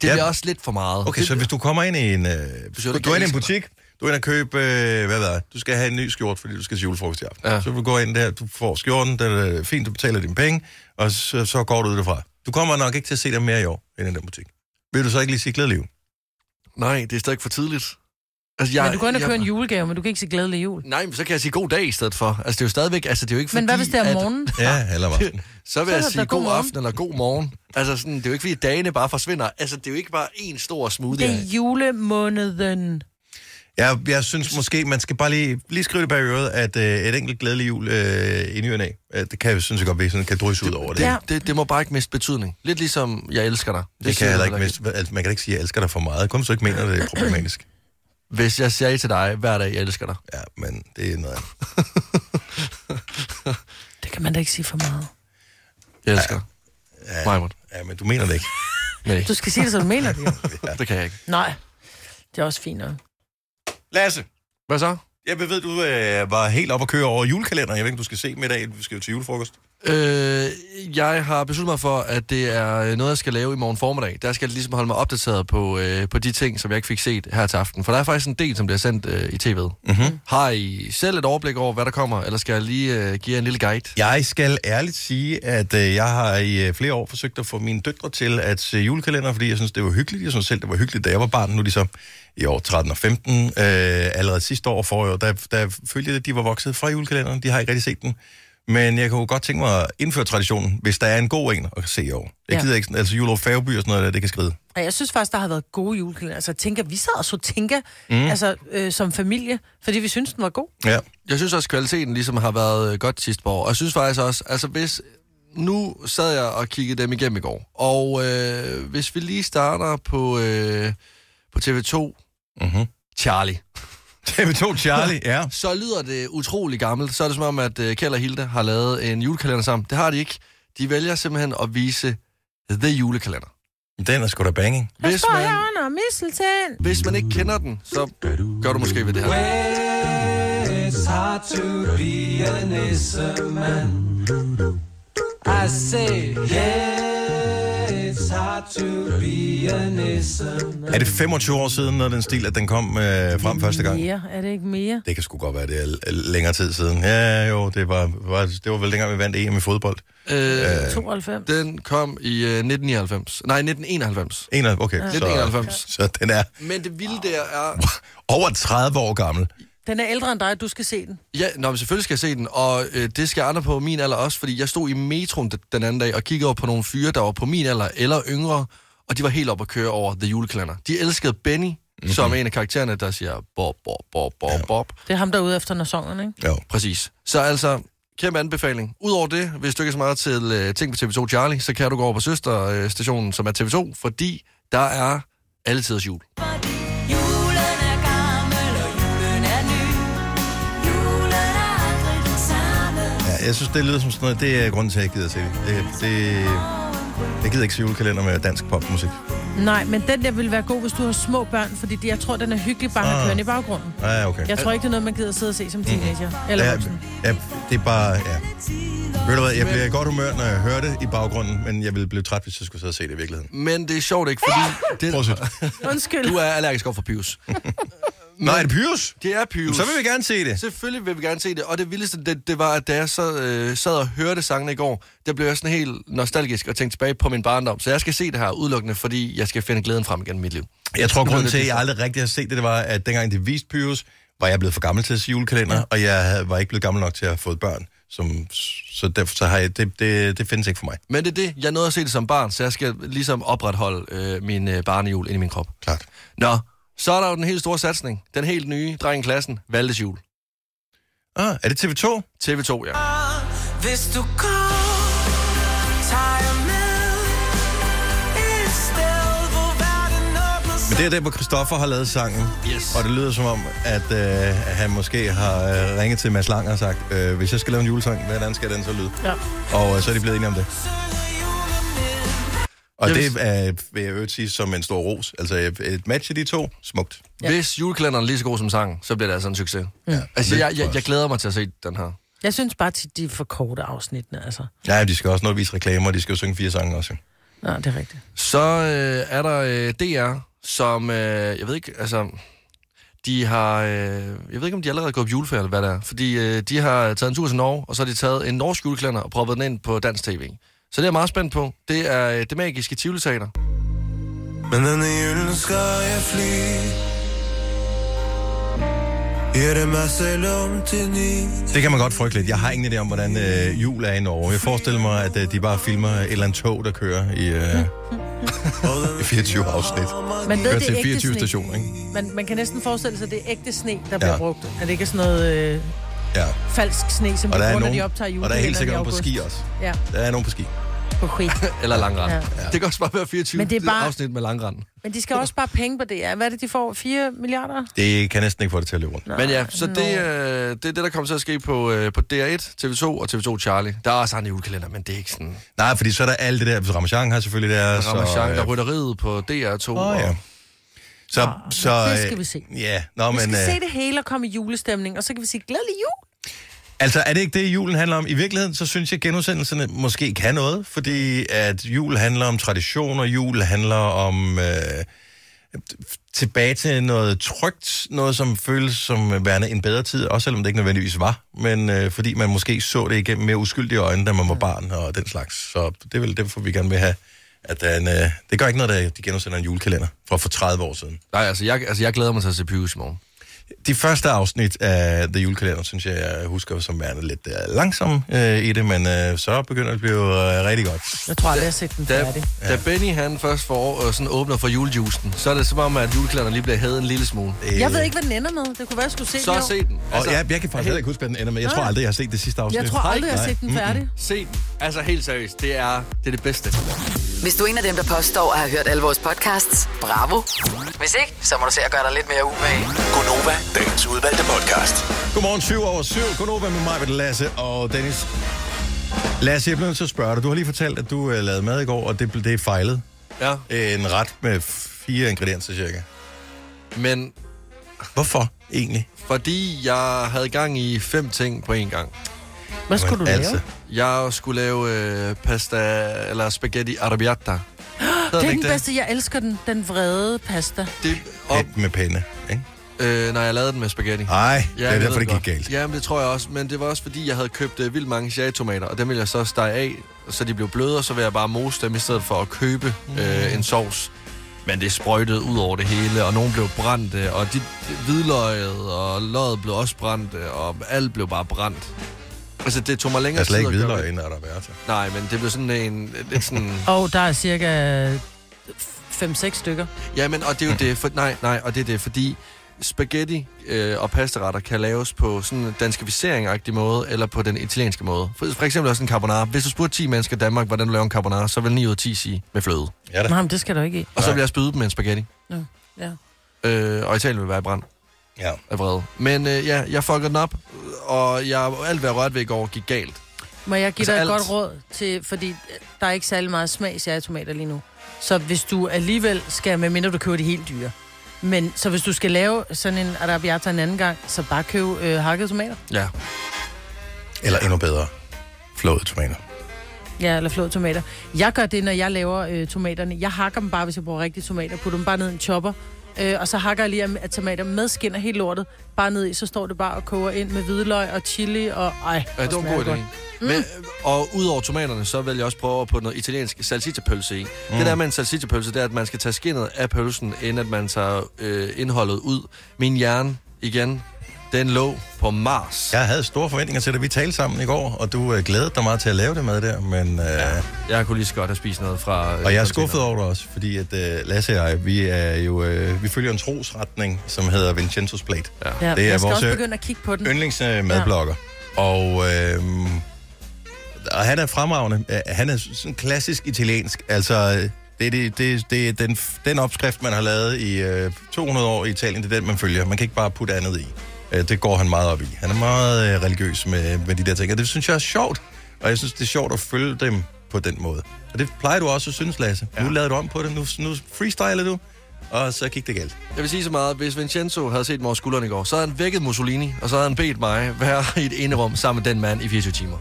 [SPEAKER 3] Det
[SPEAKER 1] Ja.
[SPEAKER 3] bliver også lidt for meget.
[SPEAKER 1] Okay,
[SPEAKER 3] det,
[SPEAKER 1] så hvis du kommer ind i en... Øh, du,
[SPEAKER 3] siger, det
[SPEAKER 1] du er inde i en
[SPEAKER 3] elsker
[SPEAKER 1] butik, du er inde og købe, øh, hvad ved jeg, du skal have en ny skjort, fordi du skal til julefrokost i aften. Ja.
[SPEAKER 3] Ja.
[SPEAKER 1] Så du går ind der, du får skjorten, den er fint, du betaler dine penge, og så, så går du ud derfra. Du kommer nok ikke til at se dig mere i år, end i den butik. Vil du så ikke lige sige glædelig jul?
[SPEAKER 3] Nej, det er stadig for tidligt. Altså, jeg,
[SPEAKER 2] Men du går ind og
[SPEAKER 3] jeg-
[SPEAKER 2] køber en julegave, men du kan ikke sige glædelig jul.
[SPEAKER 3] Nej, men så kan jeg sige god dag i stedet for. Altså, det er jo stadigvæk... Altså, det er jo ikke
[SPEAKER 2] Men hvad
[SPEAKER 3] fordi,
[SPEAKER 2] hvis det er om
[SPEAKER 3] at-
[SPEAKER 2] morgenen?
[SPEAKER 1] Ja, eller hvad?
[SPEAKER 3] Så vil
[SPEAKER 2] Så
[SPEAKER 3] jeg
[SPEAKER 2] er det
[SPEAKER 3] sige
[SPEAKER 2] da god
[SPEAKER 3] god, god
[SPEAKER 2] morgen.
[SPEAKER 3] aften eller god morgen. Altså, sådan, det er jo ikke, fordi dagene bare forsvinder. Altså, det er jo ikke bare en stor smoothie.
[SPEAKER 2] Det er julemåneden.
[SPEAKER 1] Jeg, jeg synes måske, man skal bare lige, lige skrive det bag øret, at øh, et enkelt glædelig jul øh, i ny og næ, øh, det kan jeg synes jeg godt blive sådan, kan drysse ud over det.
[SPEAKER 2] Ja.
[SPEAKER 1] Ja.
[SPEAKER 3] Det, det må bare ikke miste betydning. Lidt ligesom, jeg elsker dig.
[SPEAKER 1] Det kan
[SPEAKER 3] siger
[SPEAKER 1] jeg heller
[SPEAKER 3] jeg
[SPEAKER 1] ikke
[SPEAKER 3] heller
[SPEAKER 1] miste. Altså, man kan ikke sige, at jeg elsker dig for meget. Kom så ikke mener, det er problematisk.
[SPEAKER 3] Hvis jeg sagde til dig hver dag, jeg elsker dig.
[SPEAKER 1] Ja, men det er noget andet.
[SPEAKER 2] Det kan man da ikke sige for meget.
[SPEAKER 3] Jeg elsker dig.
[SPEAKER 1] Ja.
[SPEAKER 3] Ja.
[SPEAKER 1] Ja, men du mener det ikke.
[SPEAKER 3] Men ikke.
[SPEAKER 2] Du skal sige det, som du mener det.
[SPEAKER 3] Det kan jeg ikke.
[SPEAKER 2] Nej, det er også fint nok.
[SPEAKER 1] Lasse,
[SPEAKER 3] Hvad så?
[SPEAKER 1] jeg ved, du øh, var helt op at køre over julekalenderen. Jeg ved ikke, om du skal se dem i dag. Vi skal jo til julefrokost.
[SPEAKER 3] Øh, jeg har besluttet mig for, at det er øh, noget, jeg skal lave i morgen formiddag. Der skal jeg ligesom holde mig opdateret på, øh, på de ting, som jeg ikke fik set her til aften. For der er faktisk en del, som bliver sendt øh, i tv'et. Mm-hmm. Har I selv et overblik over, hvad der kommer, eller skal jeg lige øh, give jer en lille guide?
[SPEAKER 1] Jeg skal ærligt sige, at øh, jeg har i øh, flere år forsøgt at få mine døtre til at se julekalender, fordi jeg synes, det var hyggeligt. Jeg synes selv, det var hyggeligt, da jeg var barn. Nu er de så i år 13 og 15. Øh, allerede sidste år og forrige år, der, der følte jeg, at de var vokset fra julekalenderen. De har ikke rigtig set den. Men jeg kunne godt tænke mig at indføre traditionen, hvis der er en god en at se i år. Jeg
[SPEAKER 2] Ja.
[SPEAKER 1] gider ikke sådan, altså Julerup Færgeby og sådan noget, der, det kan skride.
[SPEAKER 2] Og jeg synes faktisk, der har været gode julekalender. Altså, tænker, vi sad og så tænker, mm. altså, øh, som familie, fordi vi synes den var god.
[SPEAKER 1] Ja.
[SPEAKER 3] Jeg synes også, kvaliteten ligesom har været øh, godt sidste par år. Og jeg synes faktisk også, altså hvis... Nu sad jeg og kiggede dem igennem i går. Og øh, hvis vi lige starter på, øh, på TV2,
[SPEAKER 1] Mm-hmm.
[SPEAKER 3] Charlie,
[SPEAKER 1] TV2 Charlie, ja.
[SPEAKER 3] så lyder det utrolig gammelt. Så er det som om, at øh, Kjeld og Hilde har lavet en julekalender sammen. Det har de ikke. De vælger simpelthen at vise The Julekalender.
[SPEAKER 1] Den er sgu da banging.
[SPEAKER 2] Hvis
[SPEAKER 3] Hvis
[SPEAKER 2] står man...
[SPEAKER 3] man,
[SPEAKER 2] her under misseltæn.
[SPEAKER 3] hvis man ikke kender den, så gør du måske ved det her.
[SPEAKER 6] to be an man. I say, yeah, it's hard to be an man.
[SPEAKER 1] Er det 25 år siden, når den stil, at den kom øh, frem første gang?
[SPEAKER 2] Mere, er det ikke mere?
[SPEAKER 1] Det kan sgu godt være, det er l- længere tid siden. Ja, jo, det var, var, det var vel dengang, vi vandt EM i fodbold.
[SPEAKER 3] Øh,
[SPEAKER 2] 92.
[SPEAKER 3] den kom i øh, 1999. Nej, 1991.
[SPEAKER 1] 91, okay. Ja. Så,
[SPEAKER 3] 1991.
[SPEAKER 1] så den er
[SPEAKER 3] Men det vilde der er...
[SPEAKER 1] over 30 år gammel.
[SPEAKER 2] Den er ældre end dig, du skal se den.
[SPEAKER 3] Ja, nå, men selvfølgelig skal jeg se den, og øh, det skal andre på min alder også, fordi jeg stod i metroen d- den anden dag og kiggede over på nogle fyre, der var på min alder eller yngre, og de var helt oppe at køre over The Juleklænder. De elskede Benny, mm-hmm.
[SPEAKER 1] Mhm.
[SPEAKER 3] som er en af karaktererne, der siger bob, bob, bob, bob, ja. bob.
[SPEAKER 2] Det er ham, der er ude efter Nassongen, ikke?
[SPEAKER 1] Jo.
[SPEAKER 3] Præcis. Så altså, kæmpe anbefaling. Udover det, hvis du ikke er så meget til øh, ting på TV2 Charlie, så kan du gå over på søsterstationen, øh, som er TV2, fordi der er altid jul.
[SPEAKER 7] Julen er gammel, og julen er ny. Julen er aldrig den samme.
[SPEAKER 1] Ja, jeg synes, det lyder som sådan noget. Det er grunden til, at jeg gider se det. det, det jeg gider ikke se julekalender med dansk popmusik.
[SPEAKER 2] Nej, men den der vil være god, hvis du har små børn, fordi de- jeg tror, den er hyggelig bare at have kørende i baggrunden.
[SPEAKER 1] Ja, okay.
[SPEAKER 2] Jeg tror ikke, det er noget, man gider sidde og se som teenager. Eller
[SPEAKER 1] Ja,
[SPEAKER 2] voksen.
[SPEAKER 1] ja, det er bare, ja. Ved du hvad, jeg bliver i godt humør, når jeg hører det i baggrunden, men jeg ville blive træt, hvis jeg skulle sidde og se det i virkeligheden.
[SPEAKER 3] Men det er sjovt ikke, fordi det,
[SPEAKER 1] Prøv at se.
[SPEAKER 2] Undskyld.
[SPEAKER 3] du er allergisk over for Pius.
[SPEAKER 1] Nej, er det Pyrus?
[SPEAKER 3] Det er Pius.
[SPEAKER 1] Så vil vi gerne se det.
[SPEAKER 3] Selvfølgelig vil vi gerne se det, og det vildeste, det, det var, at da jeg så, øh, sad og hørte sangene i går, der blev jeg sådan helt nostalgisk og tænkte tilbage på min barndom. Så jeg skal se det her udelukkende, fordi jeg skal finde glæden frem igen i mit liv.
[SPEAKER 1] Jeg tror, grunden til, at jeg aldrig rigtig har set det, det var, at dengang det viste Pyrus, var jeg blevet for gammel til at se julekalender, ja. og jeg havde- var ikke blevet gammel nok til at have fået børn. Som, så derfor så har jeg, det, det, det findes ikke for mig.
[SPEAKER 3] Men det er det, jeg nåede at se det som barn, så jeg skal ligesom opretholde øh, min øh, barnehjul inde i min krop.
[SPEAKER 1] Klart.
[SPEAKER 3] Nå, så er der jo den helt store satsning. Den helt nye dreng i klassen, Valdes jul.
[SPEAKER 1] Ah, er det TV2?
[SPEAKER 3] TV2, ja.
[SPEAKER 6] Hvis du går, tager jeg med et sted, hvor verden åbner sig.
[SPEAKER 1] Men det er der, hvor Christoffer har lavet sangen.
[SPEAKER 3] Yes.
[SPEAKER 1] Og det lyder som om, at øh, han måske har øh, ringet til Mads Lang og sagt, øh, hvis jeg skal lave en julesang, hvordan skal den så lyde?
[SPEAKER 2] Ja.
[SPEAKER 1] Og øh, så er de blevet enige om det. Og
[SPEAKER 3] Jeg
[SPEAKER 1] det
[SPEAKER 3] vil-
[SPEAKER 1] er, vil jeg i øvrigt sige som en stor ros. Altså øh, et match af de to, smukt.
[SPEAKER 3] ja. Hvis juleklænderen er lige så god som sangen, så bliver det altså en succes. Ja. Altså, jeg, jeg, jeg glæder mig til at se den her.
[SPEAKER 2] Jeg synes bare tit, de er for korte afsnittene, altså.
[SPEAKER 1] Ja, de skal også nå at vise reklamer, og de skal jo synge fire sange også. jo.
[SPEAKER 2] Nej, det er rigtigt.
[SPEAKER 3] Så øh, er der øh, DR, som, øh, jeg ved ikke, altså, de har, øh, jeg ved ikke, om de allerede er gået på juleferie, eller hvad det er, fordi øh, de har taget en tur til Norge, og så har de taget en norsk juleklænder og proppet den ind på dansk tv. Så det er jeg meget spændt på. Det er øh, det magiske Tivoli Teater.
[SPEAKER 8] Men denne julen skal jeg fly Gjør det mig selv om til ny
[SPEAKER 1] Det kan man godt frygte lidt. Jeg har ingen idé om, hvordan øh, jul er i Norge. Jeg forestiller mig, at øh, de bare filmer et eller andet tog, der kører i, øh, i 24 afsnit.
[SPEAKER 2] Man ved,
[SPEAKER 1] Kører
[SPEAKER 2] det
[SPEAKER 1] til
[SPEAKER 2] er ægte
[SPEAKER 1] 24
[SPEAKER 2] sne.
[SPEAKER 1] stationer, ikke?
[SPEAKER 2] Man, man kan næsten forestille sig, at det er ægte sne, der bliver
[SPEAKER 1] Ja.
[SPEAKER 2] brugt. At det ikke er sådan noget øh,
[SPEAKER 1] Ja.
[SPEAKER 2] falsk sne, som
[SPEAKER 1] Og der
[SPEAKER 2] de
[SPEAKER 1] er,
[SPEAKER 2] bruger, når
[SPEAKER 1] nogen,
[SPEAKER 2] de optager
[SPEAKER 1] og der er helt sikkert nogen på
[SPEAKER 2] julekalenderen i
[SPEAKER 1] ski også.
[SPEAKER 2] august. Ja,
[SPEAKER 1] Der er nogen på ski.
[SPEAKER 2] på ski.
[SPEAKER 3] Eller langrand.
[SPEAKER 2] Ja.
[SPEAKER 3] Ja. Det kan også bare være 24
[SPEAKER 2] Men det er bare-
[SPEAKER 3] afsnit med langrand.
[SPEAKER 2] Men de skal også spare penge på det. ja. Hvad er det, de får? 4 milliarder?
[SPEAKER 1] Det kan næsten ikke få det til at løbe rundt.
[SPEAKER 3] Men ja, så det,
[SPEAKER 2] Norge.
[SPEAKER 3] øh, det er det, der kommer til at ske på, øh, på DR1, TV2 og TV2 Charlie. Der er også en julekalender, men det er ikke sådan...
[SPEAKER 1] Nej, fordi så er der alt det der. Ramachan har selvfølgelig der.
[SPEAKER 3] Så, Ramachan,
[SPEAKER 1] øh,
[SPEAKER 3] der rytteriet på DR2.
[SPEAKER 1] Åh, ja.
[SPEAKER 3] og,
[SPEAKER 1] Så, så,
[SPEAKER 2] Ah, det
[SPEAKER 1] øh,
[SPEAKER 2] skal vi se.
[SPEAKER 1] Ja, nå,
[SPEAKER 2] Vi
[SPEAKER 1] men...
[SPEAKER 2] skal
[SPEAKER 1] øh,
[SPEAKER 2] se det hele og komme i julestemning, og så kan vi sige glædelig jul.
[SPEAKER 1] Altså, er det ikke det, julen handler om? I virkeligheden, så synes jeg, at genudsendelserne måske kan noget, fordi at jul handler om traditioner, jul handler om øh, tilbage til noget trygt, noget som føles som værende en bedre tid, også selvom det ikke nødvendigvis var, men øh, fordi man måske så det igennem mere uskyldige øjne, da man var barn og den slags. Så det er vel derfor, vi gerne vil have, at der er en, øh, det gør ikke noget, at de genudsender en julekalender fra for 30 år siden.
[SPEAKER 3] Nej, altså jeg, altså jeg glæder mig til at se Pyrus i morgen.
[SPEAKER 1] De første afsnit af The Julekalender, synes jeg, jeg husker som værende lidt øh, langsom øh, i det, men øh, så begynder det at blive øh, rigtig godt.
[SPEAKER 2] Jeg tror aldrig, jeg har set den
[SPEAKER 3] Da,
[SPEAKER 2] færdig.
[SPEAKER 3] ja. da Benny han først får, øh, sådan åbner for julejuicen, så er det som om, at juleklænderen lige bliver hævet en lille smule.
[SPEAKER 2] Jeg ved ikke, altså- hvad den ender med. Det kunne være, jeg skulle se
[SPEAKER 3] Så
[SPEAKER 2] den. i år.
[SPEAKER 3] se den. Altså,
[SPEAKER 1] Og jeg, jeg kan faktisk heller ikke huske, hvad den ender med. Jeg tror aldrig, jeg har set det sidste afsnit.
[SPEAKER 2] Jeg tror aldrig, jeg har set den færdig.
[SPEAKER 3] Se den. Altså helt seriøst, det er det, er det bedste.
[SPEAKER 4] Hvis du er en af dem, der påstår at have hørt alle vores podcasts, bravo. Hvis ikke, så må du se at gøre dig lidt mere umage.
[SPEAKER 5] Gunova, dagens udvalgte podcast.
[SPEAKER 1] Godmorgen 20 over 7. Godnova med mig, Peter Lasse og Dennis. Lasse, jeg bliver nødt til at spørge dig. Du har lige fortalt, at du øh, lavede mad i går, og det, blev- det er fejlet.
[SPEAKER 3] Ja,
[SPEAKER 1] En ret med fire ingredienser cirka.
[SPEAKER 3] men
[SPEAKER 1] Hvorfor? egentlig?
[SPEAKER 3] Fordi jeg havde gang i fem ting på én gang.
[SPEAKER 2] Hvad skulle du
[SPEAKER 1] Jamen,
[SPEAKER 2] lave?
[SPEAKER 1] altså.
[SPEAKER 3] Jeg skulle lave øh, pasta eller spaghetti arrabbiata. Hedder
[SPEAKER 2] Det er den
[SPEAKER 3] ikke
[SPEAKER 2] bedste, jeg elsker den, den vrede pasta.
[SPEAKER 3] Det, og,
[SPEAKER 1] Op med pande, ikke?
[SPEAKER 3] øh, når jeg lavede den med spaghetti.
[SPEAKER 1] Nej, ja, det er
[SPEAKER 3] jeg
[SPEAKER 1] derfor,
[SPEAKER 3] ved
[SPEAKER 1] det gik
[SPEAKER 3] godt.
[SPEAKER 1] galt. Ja.
[SPEAKER 3] Ja, men det tror jeg også. Men det var også, fordi jeg havde købt øh, vildt mange cherrytomater, og dem ville jeg så stege af, så de blev bløde, og så ville jeg bare mose dem, i stedet for at købe øh, en sovs. Men det sprøjtede ud over det hele, og nogen blev brændte, og de, de hvidløget, og løget blev også brændte, og alt blev bare brændt. Altså, det tog mig
[SPEAKER 1] Jeg
[SPEAKER 3] længere
[SPEAKER 1] er slet ikke
[SPEAKER 3] tid at gøre
[SPEAKER 1] hvidløg
[SPEAKER 3] det.
[SPEAKER 1] inden Araberta.
[SPEAKER 3] Nej, men det blev sådan en... Lidt sådan,
[SPEAKER 2] Og der er cirka 5-6 stykker.
[SPEAKER 3] Ja, men og det er jo det, for, nej, nej, og det er det, fordi spaghetti øh, og pastaretter kan laves på sådan en danskificering måde, eller på den italienske måde. For, for eksempel også en carbonara. Hvis du spurgte 10 mennesker i Danmark, hvordan du laver en carbonara, så vil 9 ud af 10 sige med fløde.
[SPEAKER 1] Ja da.
[SPEAKER 2] Nej, men det skal du ikke i.
[SPEAKER 3] Og så vil jeg spyde dem med en spaghetti.
[SPEAKER 2] Nå, ja.
[SPEAKER 3] Øh, og Italien vil være i brand
[SPEAKER 1] Ja.
[SPEAKER 3] af vrede. Men øh, ja, jeg fuckede den op, og jeg, alt hvad jeg rørte ved i går gik galt.
[SPEAKER 2] Må jeg give
[SPEAKER 3] Altså
[SPEAKER 2] dig et
[SPEAKER 3] alt.
[SPEAKER 2] godt råd til, fordi der er ikke særlig meget smag i cherrytomater lige nu. Så hvis du alligevel skal, medmindre du køber de helt dyre, men så hvis du skal lave sådan en arabiata en anden gang, så bare køb øh, hakkede tomater.
[SPEAKER 3] Ja.
[SPEAKER 1] Eller endnu bedre, flåede tomater.
[SPEAKER 2] Ja, eller flåede tomater. Jeg gør det, når jeg laver øh, tomaterne. Jeg hakker dem bare, hvis jeg bruger rigtige tomater. Putter dem bare ned i en chopper. Øh, og så hakker jeg lige af- af tomater med skin og helt lortet. Bare ned i, så står det bare og koger ind med hvidløg og chili og... Ej,
[SPEAKER 3] Ja, det var
[SPEAKER 2] hvor
[SPEAKER 3] en
[SPEAKER 2] smager
[SPEAKER 3] god idé.
[SPEAKER 2] godt.
[SPEAKER 3] Mm. Men, og udover tomaterne, så vil jeg også prøve at putte noget italiensk salsicapølse i. Mm. Det der med en salsicapølse, det er, at man skal tage skinnet af pølsen, inden at man tager øh, indholdet ud. Min hjerne, igen, den lå på Mars.
[SPEAKER 1] Jeg havde store forventninger til, at vi talte sammen i går, og du øh, glædede dig meget til at lave det med der, men... Øh, ja.
[SPEAKER 3] Jeg kunne lige så godt have spist noget fra...
[SPEAKER 1] Og
[SPEAKER 3] øh,
[SPEAKER 1] jeg er
[SPEAKER 3] containeren.
[SPEAKER 1] skuffet over det også, fordi at øh, Lasse og jeg, vi, er jo, øh, vi følger en trosretning, som hedder Vincenzo's Plate. Ja.
[SPEAKER 2] Ja,
[SPEAKER 1] Det er
[SPEAKER 2] jeg skal
[SPEAKER 1] vores,
[SPEAKER 2] også
[SPEAKER 1] øh,
[SPEAKER 2] begynde at kigge på den.
[SPEAKER 1] Yndlingsmadblogger. Ja. øh, Og, øh, og han er fremragende. Øh, Han er sådan klassisk italiensk. Altså, øh, det er, det, det, det er den, den opskrift, man har lavet i øh, 200 år i Italien, det er den, man følger. Man kan ikke bare putte andet i. Øh, det går han meget op i. Han er meget øh, religiøs med, med de der ting, og det synes jeg er sjovt. Og jeg synes, det er sjovt at følge dem på den måde. Og det plejer du også at synes, Lasse. Ja. Nu lavede du om på det, nu, nu freestyler du, og så gik det galt.
[SPEAKER 3] Jeg vil sige så meget, hvis Vincenzo havde set mig over skulderen i går, så havde han vækket Mussolini, og så havde han bedt mig være i et enerum sammen med den mand i 24 timer.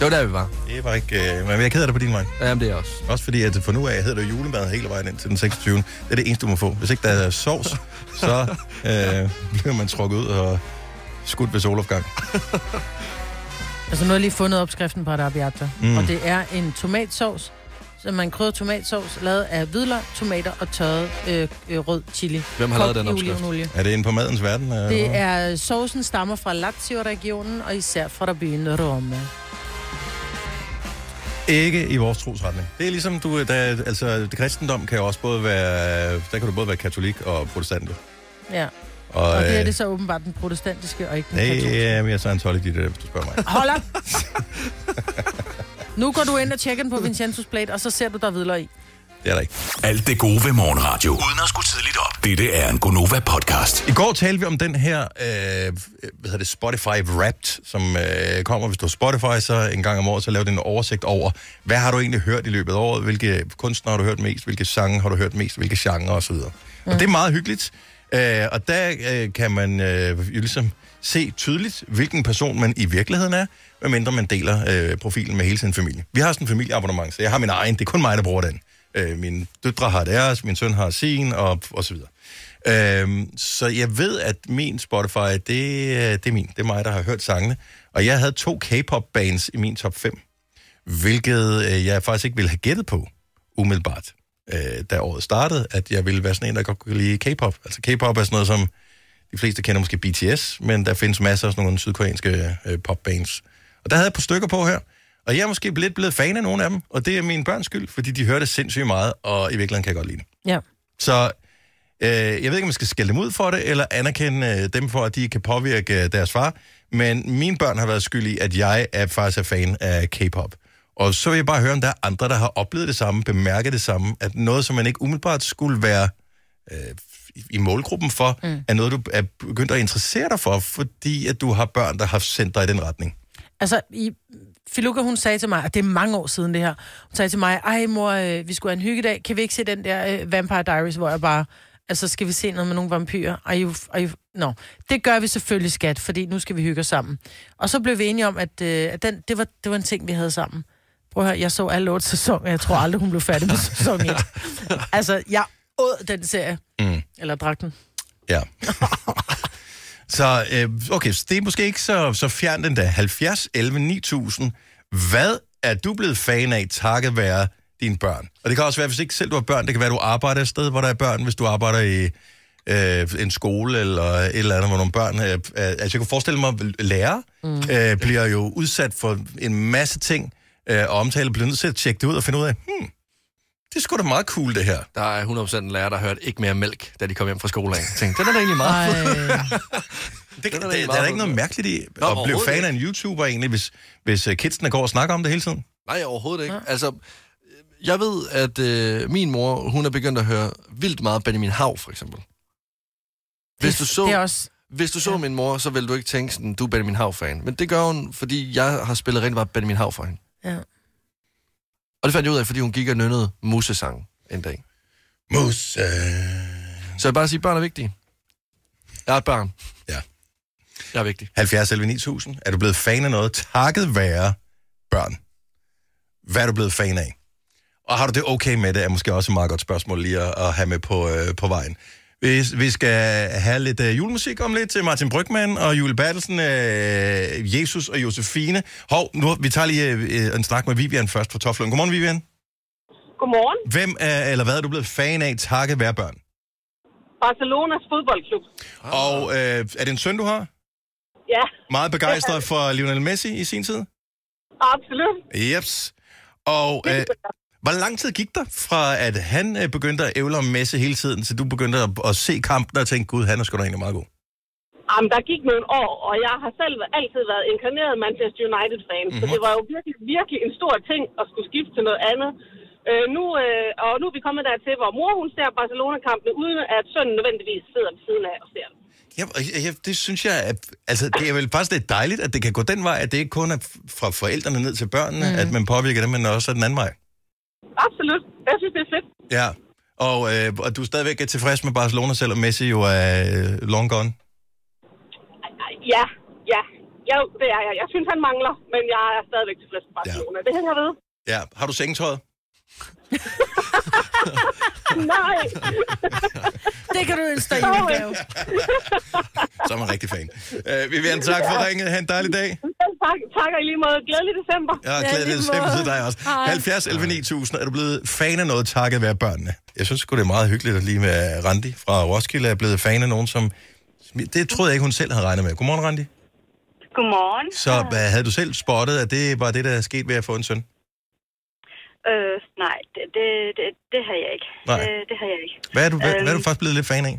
[SPEAKER 3] Det var der, vi var.
[SPEAKER 1] Det var ikke... Øh, men jeg er ked af det på din vej.
[SPEAKER 3] Jamen, det er jeg også.
[SPEAKER 1] Også fordi, at for nu af hedder det jo julemad hele vejen ind til den 26. Det er det eneste, du må få. Hvis ikke der er sovs, så øh, bliver man trukket ud og skudt ved solopgang.
[SPEAKER 2] Altså nu har jeg lige fundet opskriften på arabiata. Mm. Og det er en tomatsovs, som man krydder tomatsovs, lavet af hvidløg, tomater og tørret øh, øh, rød chili.
[SPEAKER 3] Hvem har lavet den opskrift?
[SPEAKER 2] Olivenolie.
[SPEAKER 1] Er det inde på madens verden? Øh,
[SPEAKER 2] Det er, sovsen stammer fra Lazio-regionen, og især fra byen Rome.
[SPEAKER 1] Ikke i vores trosretning. Det er ligesom, du, øh, der, altså, det kristendom kan jo også både være, der kan du både være katolik og protestant. jo.
[SPEAKER 2] Ja.
[SPEAKER 1] Og,
[SPEAKER 2] Og det er
[SPEAKER 1] øh,
[SPEAKER 2] det så åbenbart den protestantiske, og ikke den
[SPEAKER 1] Nej,
[SPEAKER 2] katolske.
[SPEAKER 1] jeg er mere scientology, det der, hvis du spørger mig.
[SPEAKER 2] Hold op! nu går du ind og tjekker den på Vincenzo's plate, og så ser du, der er hvidløg i.
[SPEAKER 1] Det er der ikke.
[SPEAKER 5] Alt det gode ved morgenradio. Uden at skulle tidligt op. Dette er en Gonova-podcast.
[SPEAKER 1] I går talte vi om den her, øh, hvad hedder det, Spotify Wrapped, som øh, kommer, hvis du har Spotify, så en gang om året, så laver den en oversigt over, hvad har du egentlig hørt i løbet af året, hvilke kunstnere har du hørt mest, hvilke sange har du hørt mest, hvilke genrer osv. Mm. Og det er meget hyggeligt, øh, og der øh, kan man øh, jo ligesom se tydeligt, hvilken person man i virkeligheden er, medmindre man deler øh, profilen med hele sin familie. Vi har sådan en familieabonnement, så jeg har min egen, det er kun mig, der bruger den. Øh, mine døtre har deres, min søn har sin, og, og så videre. Øhm, så jeg ved, at min Spotify, det, øh, det er min. Det er mig, der har hørt sangene. Og jeg havde to K-pop-bands i min top 5, hvilket øh, jeg faktisk ikke ville have gættet på umiddelbart, øh, da året startede, at jeg ville være sådan en, der godt kunne lide K-pop. Altså K-pop er sådan noget, som de fleste kender måske BTS, men der findes masser af sådan nogle sydkoreanske øh, popbands. Og der havde jeg et par stykker på her, og jeg er måske lidt blevet fan af nogle af dem, og det er min børns skyld, fordi de hører det sindssygt meget, og i virkeligheden kan jeg godt lide det.
[SPEAKER 2] Ja.
[SPEAKER 1] Så øh, jeg ved ikke, om man skal skælde dem ud for det, eller anerkende øh, dem for, at de kan påvirke øh, deres far. Men mine børn har været skyld i, at jeg er faktisk er fan af K-pop. Og så vil jeg bare høre, om der er andre, der har oplevet det samme, bemærket det samme, at noget, som man ikke umiddelbart skulle være øh, i- i målgruppen for, mm. er noget, du er begyndt at interessere dig for, fordi at du har børn, der har sendt dig i den retning.
[SPEAKER 2] Altså, i, Filuka, hun sagde til mig, og det er mange år siden det her, hun sagde til mig, ej mor, øh, vi skulle have en hyggedag, kan vi ikke se den der øh, Vampire Diaries, hvor jeg bare, Altså, skal vi se noget med nogle vampyrer? Are you, are you... No. Det gør vi selvfølgelig, skat, fordi nu skal vi hygge os sammen. Og så blev vi enige om, at, øh, at den, det, var, det var en ting, vi havde sammen. Prøv at høre, jeg så alle otte sæsoner, jeg tror aldrig, hun blev færdig med sæson 1. altså, jeg åd den serie.
[SPEAKER 1] Mm.
[SPEAKER 2] Eller drak den.
[SPEAKER 1] Ja. så øh, okay, så det er måske ikke så, så fjernt endda. 70, 11, 9000. Hvad er du blevet fan af takket være dine børn? Og det kan også være, hvis ikke selv du har børn, det kan være, du arbejder et sted, hvor der er børn, hvis du arbejder i øh, en skole eller et eller andet, hvor nogle børn... Øh, øh, altså, jeg kunne forestille mig, at lærere mm. øh, bliver jo udsat for en masse ting, øh, og omtale bliver nødt til at tjekke det ud og finde ud af, hmm, det er sgu da meget cool, det her.
[SPEAKER 3] Der er 100% en lærer, der hørte ikke mere mælk, da de kom hjem fra skole af. Jeg tænkte, den er da egentlig meget fed.
[SPEAKER 2] Ej,
[SPEAKER 1] Det, det,
[SPEAKER 3] Den er
[SPEAKER 1] det,
[SPEAKER 3] da
[SPEAKER 1] der er
[SPEAKER 3] egentlig meget
[SPEAKER 1] der ikke noget mærkeligt i
[SPEAKER 3] Nå,
[SPEAKER 1] at blive
[SPEAKER 3] overhovedet
[SPEAKER 1] fan
[SPEAKER 3] ikke.
[SPEAKER 1] af en YouTuber egentlig, hvis, hvis øh, kidsene går og snakker om det hele tiden.
[SPEAKER 3] Nej, overhovedet ikke. Altså, øh, jeg ved, at øh, min mor, hun er begyndt at høre vildt meget Benjamin Hav, for eksempel. Hvis du så,
[SPEAKER 2] det er også...
[SPEAKER 3] hvis du så
[SPEAKER 2] ja.
[SPEAKER 3] min mor, så ville du ikke tænke sådan, du er Benjamin Hav-fan. Men det gør hun, fordi jeg har spillet rent bare Benjamin Hav for hende.
[SPEAKER 2] Ja.
[SPEAKER 3] Og det fandt jeg ud af, fordi hun gik og nønnede musesang en dag.
[SPEAKER 1] Mus. Øh.
[SPEAKER 3] Så jeg vil bare sige, børn er vigtige. Jeg er et barn.
[SPEAKER 1] Ja.
[SPEAKER 3] Jeg er vigtig.
[SPEAKER 1] 70 11 9000. Er du blevet fan af noget takket være børn? Hvad er du blevet fan af? Og har du det okay med det, er måske også et meget godt spørgsmål lige at, at have med på, øh, på vejen. Vi, vi skal have lidt øh, julemusik om lidt til Martin Brygman og Jule Bertelsen, øh, Jesus og Josefine. Hov, nu, vi tager lige øh, øh, en snak med Vivian først fra Toflund. Godmorgen, Vivian.
[SPEAKER 9] Godmorgen.
[SPEAKER 1] Hvem er, eller hvad er du blevet fan af takket være børn?
[SPEAKER 9] Barcelonas fodboldklub.
[SPEAKER 1] Og øh, er det en søn, du har?
[SPEAKER 9] Ja,
[SPEAKER 1] Meget begejstret for Lionel Messi i sin tid?
[SPEAKER 9] absolut.
[SPEAKER 1] Jeps. Og øh, hvor lang tid gik der fra, at han øh, begyndte at ævle om Messi hele tiden, til du begyndte at, at se kampen og tænke, gud, han er sgu da egentlig meget god?
[SPEAKER 9] Jamen, der gik nogle år, og jeg har selv altid været inkarneret Manchester United-fan, mm-hmm. så det var jo virkelig, virkelig en stor ting at skulle skifte til noget andet. Øh, nu, øh, og nu er vi kommet dertil, hvor mor hun ser Barcelona-kampene, uden at sønnen nødvendigvis sidder ved siden af og ser dem.
[SPEAKER 1] Ja, og jeg- jeg- det synes jeg, at, altså, det er vel faktisk lidt dejligt, at det kan gå den vej, at det ikke kun er f- fra forældrene ned til børnene, mm. at man påvirker dem, men også er den anden vej.
[SPEAKER 9] Absolut. Jeg synes, det er fedt.
[SPEAKER 1] Ja, og, øh, og du er stadigvæk tilfreds med Barcelona, selvom Messi jo er øh, long gone.
[SPEAKER 9] Ej, Ja, ja. Jeg, det er jeg. Jeg synes, han mangler, men jeg er stadigvæk tilfreds med Barcelona. Ja. Det hænger ved.
[SPEAKER 1] Ja, har du sengetøjet?
[SPEAKER 9] Nej.
[SPEAKER 2] Det kan du ønske dig i julegave.
[SPEAKER 1] Så er man rigtig fan. Øh, Vivian, tak for ringet. Ha' en dejlig dag.
[SPEAKER 9] tak, tak og i lige måde. Glædelig december.
[SPEAKER 1] Jeg er
[SPEAKER 2] Ja,
[SPEAKER 1] glad,
[SPEAKER 2] lige
[SPEAKER 1] det er til
[SPEAKER 2] måde.
[SPEAKER 1] dig også.
[SPEAKER 2] Hej.
[SPEAKER 1] 70 11 9000. Er du blevet fan af noget takket være børnene? Jeg synes sgu, det er meget hyggeligt, at lige med Randi fra Roskilde er blevet fan af nogen, som... Det troede jeg ikke, hun selv havde regnet med. Godmorgen, Randi.
[SPEAKER 9] Godmorgen.
[SPEAKER 1] Så hvad, havde du selv spottet, at det var det, der er sket ved at få en søn?
[SPEAKER 9] Øh, nej, det, det, det, det har jeg ikke.
[SPEAKER 1] Nej.
[SPEAKER 9] Det, det har jeg ikke.
[SPEAKER 1] Hvad er du, hvad,
[SPEAKER 9] Øhm.
[SPEAKER 1] hvad
[SPEAKER 2] Øh.
[SPEAKER 1] er du faktisk blevet lidt fan af?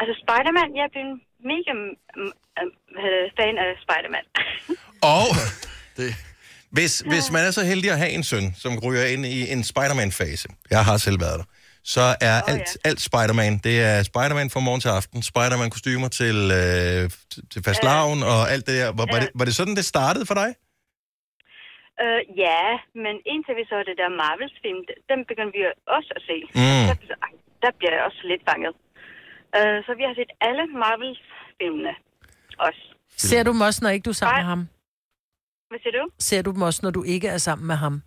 [SPEAKER 9] Altså, Spider-Man, jeg er blevet mega mm, mm, hvad hedder det, fan af Spider-Man.
[SPEAKER 1] Og
[SPEAKER 3] Det,
[SPEAKER 1] hvis, hvis man er så heldig at have en søn, som ryger ind i en Spider-Man-fase, jeg har selv været der, så er oh, alt,
[SPEAKER 9] ja.
[SPEAKER 1] alt Spider-Man, det er Spider-Man fra morgen til aften, Spider-Man-kostymer til, øh, til- til fastlaven og alt det der. Var, var, det, var det sådan, det startede for dig?
[SPEAKER 9] øh, ja, men indtil vi så det der Marvels-film, d- dem begyndte vi også at se.
[SPEAKER 1] Mm.
[SPEAKER 9] Der, ej, der bliver jeg også lidt fanget. Øh, så vi har set alle Marvels-filmene også.
[SPEAKER 2] Ser du dem også, når ikke du er sammen
[SPEAKER 9] Nej.
[SPEAKER 2] med ham?
[SPEAKER 9] Hvad siger du?
[SPEAKER 2] Ser du dem også, når du ikke er sammen med ham?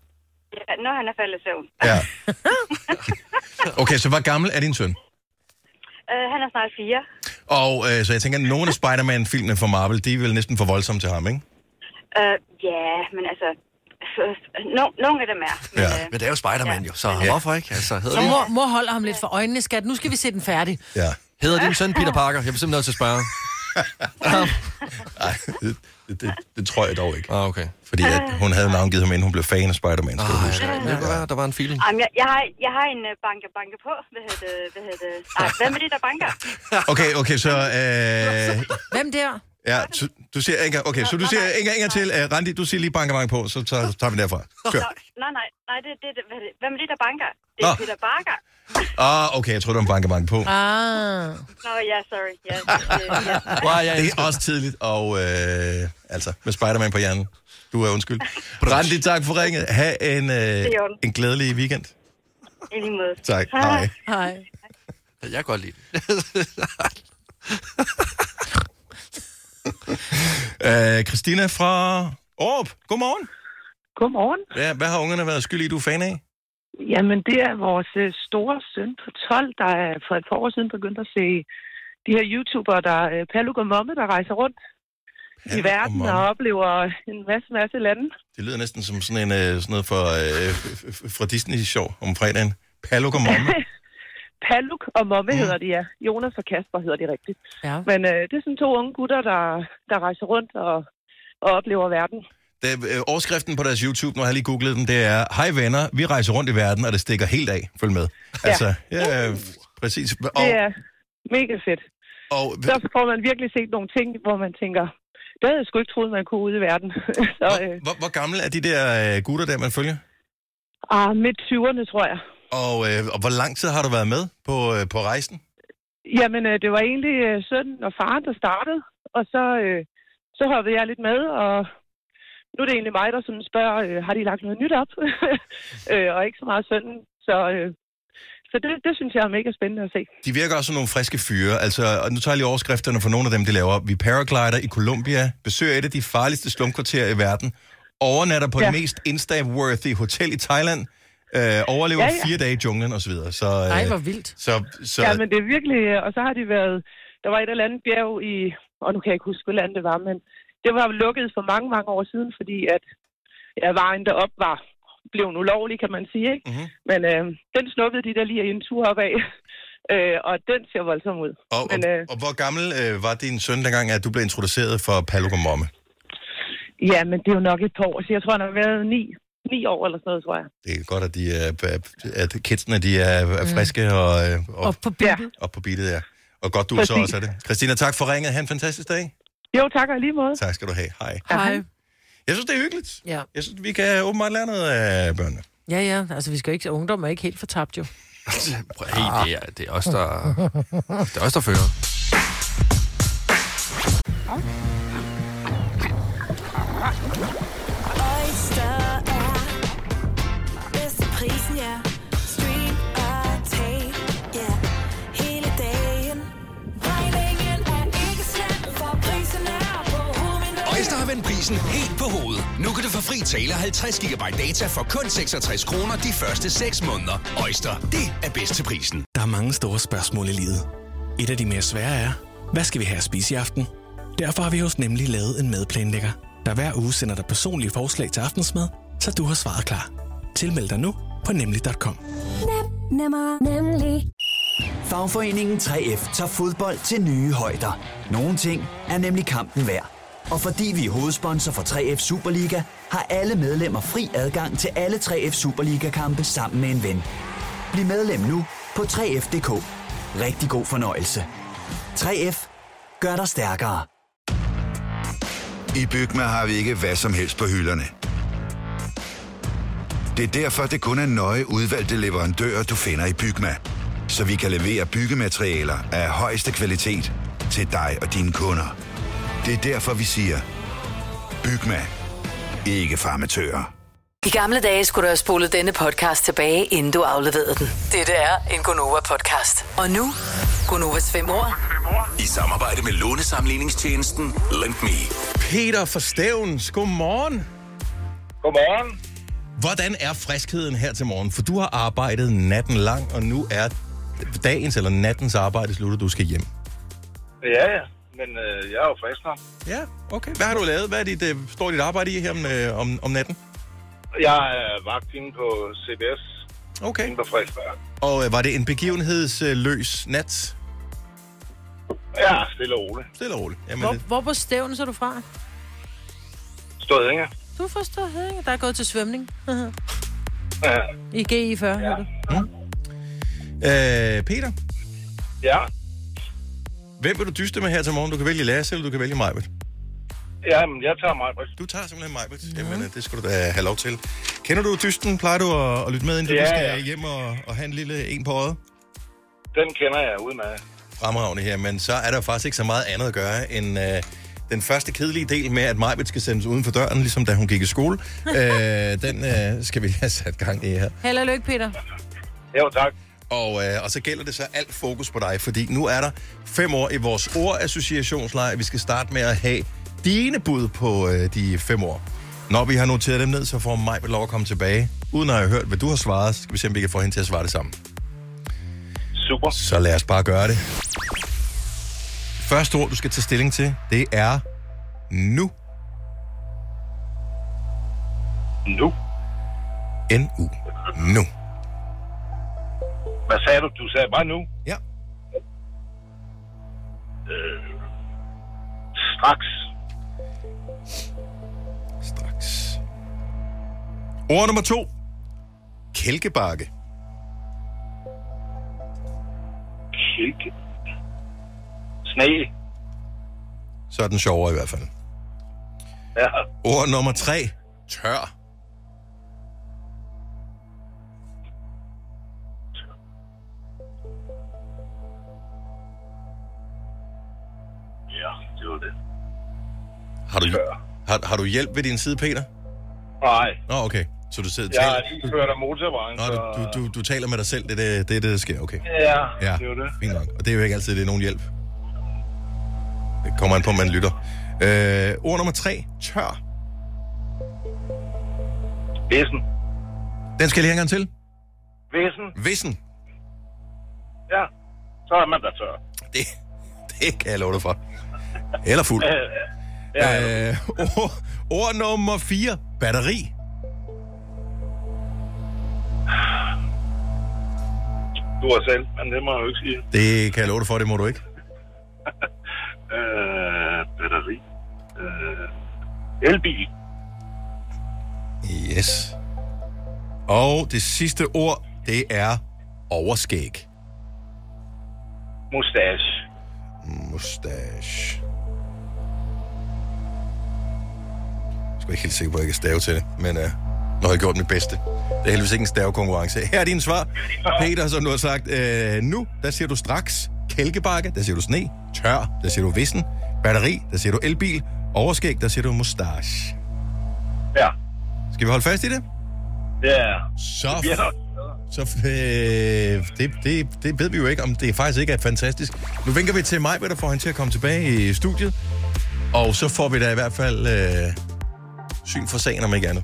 [SPEAKER 9] Ja, når han er faldet i søvn.
[SPEAKER 1] Ja. Okay, så hvor gammel er din søn?
[SPEAKER 9] Øh, han er snart fire.
[SPEAKER 1] Og øh, så jeg tænker, at nogle af Spider-Man-filmene fra Marvel, de er vel næsten for voldsomme til ham, ikke?
[SPEAKER 9] Øh, ja, men altså... No, nogle af dem er. Men,
[SPEAKER 1] Ja.
[SPEAKER 9] øh,
[SPEAKER 3] men det er jo Spider-Man jo, så hvorfor ikke? Altså, hedder,
[SPEAKER 2] Så
[SPEAKER 3] din,
[SPEAKER 2] mor, mor holder ham lidt for øjnene, skat. Nu skal vi se den færdig.
[SPEAKER 1] Ja.
[SPEAKER 3] hedder din søn Peter Parker? Jeg bliver simpelthen nødt til at spørge.
[SPEAKER 1] Ej, det, det, det, det tror jeg dog ikke.
[SPEAKER 3] Ah, okay.
[SPEAKER 1] Fordi at hun havde navngivet ham, inden hun blev fan af Spider-Man, skal du huske.
[SPEAKER 3] Ej, men det kunne være, der var en feeling.
[SPEAKER 9] Jamen, jeg, jeg, har, jeg har en øh, banke banke på. Hvad hedder det? Hvad hedder det? Ej, hvad med det, der banker?
[SPEAKER 1] Okay, okay, så... Øh,
[SPEAKER 2] Hvem der?
[SPEAKER 1] ja, så, du siger Inger, okay, så du siger Inger, Inger til, øh, Randi, du siger lige banke banke på, så tager, tager vi derfra. Kør.
[SPEAKER 9] Nå, nej, nej, nej, det, det, det, hvad, er det, hvad med det, der banker? Det
[SPEAKER 1] Nå.
[SPEAKER 9] er Peter Barker.
[SPEAKER 1] Ah, okay, jeg tror, det var en banke banke på.
[SPEAKER 2] Ah.
[SPEAKER 9] Nå, ja, sorry. Ja, det, ja.
[SPEAKER 3] Wow, jeg
[SPEAKER 1] Det er også tidligt, og øh, altså, med Spider-Man på hjernen. Du er undskyld. Randi, tak for ringet. Ha' en, øh,
[SPEAKER 9] i orden.
[SPEAKER 1] en glædelig weekend.
[SPEAKER 9] I lige måde.
[SPEAKER 1] Tak, hej.
[SPEAKER 2] Hej.
[SPEAKER 3] Jeg kan godt lide det.
[SPEAKER 1] Øh, Christina fra Aarup, godmorgen.
[SPEAKER 10] Godmorgen.
[SPEAKER 1] Ja, hvad har ungerne været skyld i, du er fan af?
[SPEAKER 10] Jamen, det er vores øh, store søn på 12, der er for et par år siden begyndt at se de her YouTubere, der øh, Paluk og Momme, der rejser rundt i verden og, oplever en masse, masse lande.
[SPEAKER 1] Det lyder næsten som sådan en øh, sådan noget fra, øh, f- f- fra Disney-show om fredagen. Pallo, godmorgen.
[SPEAKER 10] Paluk og Momme mm. hedder de, ja. Jonas og Kasper hedder de rigtigt.
[SPEAKER 2] Ja.
[SPEAKER 10] Men øh, det er sådan to unge gutter, der, der rejser rundt og, og oplever verden.
[SPEAKER 1] Det, øh, overskriften på deres YouTube, når jeg lige googlede den, det er, hej venner, vi rejser rundt i verden, og det stikker helt af. Følg med.
[SPEAKER 10] Ja. Uh.
[SPEAKER 1] Altså, ja, øh, præcis. Og,
[SPEAKER 10] Det er mega fedt.
[SPEAKER 1] Og,
[SPEAKER 10] så får man virkelig set nogle ting, hvor man tænker, det havde jeg sgu ikke troet, man kunne ude i verden. så, øh,
[SPEAKER 1] hvor, hvor gamle er de der øh, gutter, der man følger?
[SPEAKER 10] ah, midt 20'erne, tror jeg.
[SPEAKER 1] Og, øh, og hvor lang tid har du været med på, øh, på rejsen?
[SPEAKER 10] Jamen, øh, det var egentlig øh, sønnen og faren, der startede, og så, øh, så hoppede jeg lidt med, og nu er det egentlig mig, der sådan spørger, øh, har de lagt noget nyt op? øh, og ikke så meget sønnen. Så, øh, så det, det synes jeg er mega spændende at se.
[SPEAKER 1] De virker også som nogle friske fyre. Altså, og nu tager jeg lige overskrifterne for nogle af dem, de laver. Vi paraglider i Colombia, besøger et af de farligste slumkvarterer i verden, overnatter på ja.
[SPEAKER 10] Ja.
[SPEAKER 1] det mest Insta-worthy hotel i Thailand, øh, overlever ja,
[SPEAKER 10] Ja,
[SPEAKER 1] ja.
[SPEAKER 10] ja.
[SPEAKER 1] fire dage i junglen osv. Så, øh,
[SPEAKER 10] Ej, hvor vildt.
[SPEAKER 1] Så, så,
[SPEAKER 10] Ja, men det er virkelig... øh, Og så har de været... Der var et eller andet bjerg i... Og nu kan jeg ikke huske, hvad land det var, men det var lukket for mange, mange år siden, fordi at ja, vejen derop var blev en ulovlig, kan man sige. Ikke?
[SPEAKER 1] Mm-hmm.
[SPEAKER 10] Men øh, den snuppede de der lige en tur op af, øh, og den ser voldsom ud.
[SPEAKER 1] og, og,
[SPEAKER 10] men øh,
[SPEAKER 1] og hvor gammel øh, var din søn, dengang at du blev introduceret for Pallukum Momme?
[SPEAKER 10] ja, men det er jo nok et par år, så jeg tror, han har været ni, ni år eller sådan noget, tror jeg.
[SPEAKER 1] Det er godt, at, de er, at kidsene de er, er friske og, øh, og,
[SPEAKER 10] på beatet.
[SPEAKER 1] og på beatet, ja. Og godt, du så
[SPEAKER 10] Præcis.
[SPEAKER 1] også er det. Christina, tak for ringet. Ha' en fantastisk dag.
[SPEAKER 10] Jo, tak og i lige måde.
[SPEAKER 1] Tak skal du have. Hej.
[SPEAKER 2] Hej.
[SPEAKER 1] Jeg synes, det er hyggeligt.
[SPEAKER 2] Ja.
[SPEAKER 1] Jeg synes, vi kan åbenbart lære noget af børnene.
[SPEAKER 2] Ja, ja. Altså, vi skal jo ikke... Ungdom er ikke helt fortabt, jo.
[SPEAKER 3] Prøv,
[SPEAKER 2] Ah.
[SPEAKER 3] hey, det, er, det er os, der, det er os, der fører.
[SPEAKER 7] Oyster er bedst til prisen, ja. Stream og tag, ja. Hele dagen. Regningen er ikke slem, for prisen er på hovedet.
[SPEAKER 5] Øjster har vendt prisen helt på hovedet. Nu kan du få fri tale 50 GB data for kun 66 kroner de første 6 måneder. Øjster, det er bedst til prisen.
[SPEAKER 11] Der er mange store spørgsmål i livet. Et af de mere svære er, hvad skal vi have at spise i aften? Derfor har vi hos Nemlig lavet en madplanlægger, der hver uge sender dig personlige forslag til aftensmad, så du har svaret klar. Tilmeld dig nu på nemlig.com.
[SPEAKER 12] Nem, nemmer, nemlig. Fagforeningen 3F tager fodbold til nye højder. Nogle ting er nemlig kampen værd. Og fordi vi er hovedsponsor for 3F Superliga, har alle medlemmer fri adgang til alle 3F Superliga-kampe sammen med en ven. Bliv medlem nu på 3F.dk. Rigtig god fornøjelse. 3F gør dig stærkere.
[SPEAKER 13] I Bygma har vi ikke hvad som helst på hylderne. Det er derfor, det kun er nøje udvalgte leverandører, du finder i Bygma. Så vi kan levere byggematerialer af højeste kvalitet til dig og dine kunder. Det er derfor, vi siger, Bygma. Ikke farmatører.
[SPEAKER 4] I gamle dage skulle du have spolet denne podcast tilbage, inden du afleverede den. Dette er en Gonova-podcast. Og nu, Gonovas fem år.
[SPEAKER 5] I samarbejde med lånesamligningstjenesten Lend Me.
[SPEAKER 1] Peter fra Stævns, godmorgen.
[SPEAKER 14] Godmorgen.
[SPEAKER 1] Hvordan er friskheden her til morgen? For du har arbejdet natten lang, og nu er dagens eller nattens arbejde slut, og du skal hjem.
[SPEAKER 14] Ja, ja. Men øh, jeg er jo frisk nok.
[SPEAKER 1] Ja, okay. Hvad har du lavet? Hvad er dit, øh, står dit arbejde i her om, øh, om, om natten?
[SPEAKER 14] Jeg er vagt inde på CBS.
[SPEAKER 1] Okay.
[SPEAKER 14] Inde på Frederiksberg.
[SPEAKER 1] Og øh, var det en begivenhedsløs nat?
[SPEAKER 14] Ja, stille og roligt.
[SPEAKER 1] Stille og roligt. Jamen,
[SPEAKER 2] Hvor,
[SPEAKER 1] det-
[SPEAKER 2] hvor på stævnen er du fra?
[SPEAKER 14] Stod Inger.
[SPEAKER 2] Du forstår, ikke? Der er gået til svømning.
[SPEAKER 14] Ja.
[SPEAKER 2] I GI 40, ja. du.
[SPEAKER 1] Øh, Peter,
[SPEAKER 14] ja.
[SPEAKER 1] hvem vil du dyste med her til morgen? Du kan vælge Lasse, eller du kan vælge mig.
[SPEAKER 14] Ja, men jeg tager mig. Du
[SPEAKER 1] tager simpelthen mig. Jamen, øh, det skal du da have lov til. Kender du dysten? Plejer du at, at lytte med, inden ja,
[SPEAKER 14] Ja,
[SPEAKER 1] du skal
[SPEAKER 14] ja.
[SPEAKER 1] hjem og, og have en lille en på øjet?
[SPEAKER 14] Den kender jeg udmærket.
[SPEAKER 1] Fremragende her, men så er der faktisk ikke så meget andet at gøre end... Øh, den første kedelige del med, at Majbet skal sendes uden for døren, ligesom da hun gik i skole, øh, den øh, skal vi have sat gang i her.
[SPEAKER 2] Held og lykke, Peter.
[SPEAKER 14] Jo, tak.
[SPEAKER 1] Og, øh, og så gælder det så alt fokus på dig, fordi nu er der fem år i vores ordassociationslejr. Vi skal starte med at have dine bud på øh, de fem år. Når vi har noteret dem ned, så får mig lov at komme tilbage. Uden at have hørt, hvad du har svaret, skal vi se, om vi kan få hende til at svare det samme. Super. Så lad os bare gøre det. Første ord, du skal tage stilling til, det er nu. Nu. N-U. Nu.
[SPEAKER 14] Hvad sagde du? Du sagde bare nu?
[SPEAKER 1] Ja.
[SPEAKER 14] Øh, straks.
[SPEAKER 1] Straks. Ord nummer to. Kælkebakke.
[SPEAKER 14] Kigge. Sne.
[SPEAKER 1] Så er den sjovere i hvert fald.
[SPEAKER 14] Ja.
[SPEAKER 1] Ord nummer tre. Tør.
[SPEAKER 14] Ja, det var det.
[SPEAKER 1] Har du, har, har du hjælp ved din side, Peter?
[SPEAKER 14] Nej.
[SPEAKER 1] Nå, okay. Så du sidder og
[SPEAKER 14] Jeg
[SPEAKER 1] taler...
[SPEAKER 14] har lige kørt af motorvejen,
[SPEAKER 1] Nå,
[SPEAKER 14] så...
[SPEAKER 1] du, du, du, du taler med dig selv. Det er det, det, er det der sker. Okay.
[SPEAKER 14] Ja,
[SPEAKER 1] ja.
[SPEAKER 14] det var det.
[SPEAKER 1] Fint nok. Og det er jo ikke altid, det er nogen hjælp. Det kommer an på, om man lytter. Øh, ord nummer tre. Tør.
[SPEAKER 14] Vissen.
[SPEAKER 1] Den skal jeg lige have en gang til.
[SPEAKER 14] Vissen.
[SPEAKER 1] Vissen.
[SPEAKER 14] Ja. Så er man der tør.
[SPEAKER 1] Det, det kan jeg love dig for. Eller fuld. Ja, øh, ord, ord nummer 4. Batteri.
[SPEAKER 14] Du er selv, men det må jeg jo ikke sige.
[SPEAKER 1] Det kan jeg love dig for, det må du ikke.
[SPEAKER 14] Øh, batteri. Øh, elbil.
[SPEAKER 1] Yes. Og det sidste ord, det er overskæg.
[SPEAKER 14] Mustache.
[SPEAKER 1] Mustache. Jeg er sgu ikke helt sikker på, at jeg kan stave til det, men uh, nu har jeg gjort mit bedste. Det er heldigvis ikke en stavekonkurrence. Her er dine svar. Peter, som du har sagt, øh, nu, der siger du straks kælkebakke, der siger du sne, tør, der siger du vissen, batteri, der siger du elbil, overskæg, der siger du mustache.
[SPEAKER 14] Ja.
[SPEAKER 1] Skal vi holde fast i det?
[SPEAKER 14] Ja.
[SPEAKER 1] Så,
[SPEAKER 14] Det bliver nok.
[SPEAKER 1] så øh, det, det, det ved vi jo ikke, om det faktisk ikke er fantastisk. Nu vinker vi til mig, hvad der får hende til at komme tilbage i studiet. Og så får vi da i hvert fald øh, syn for sagen, om ikke andet.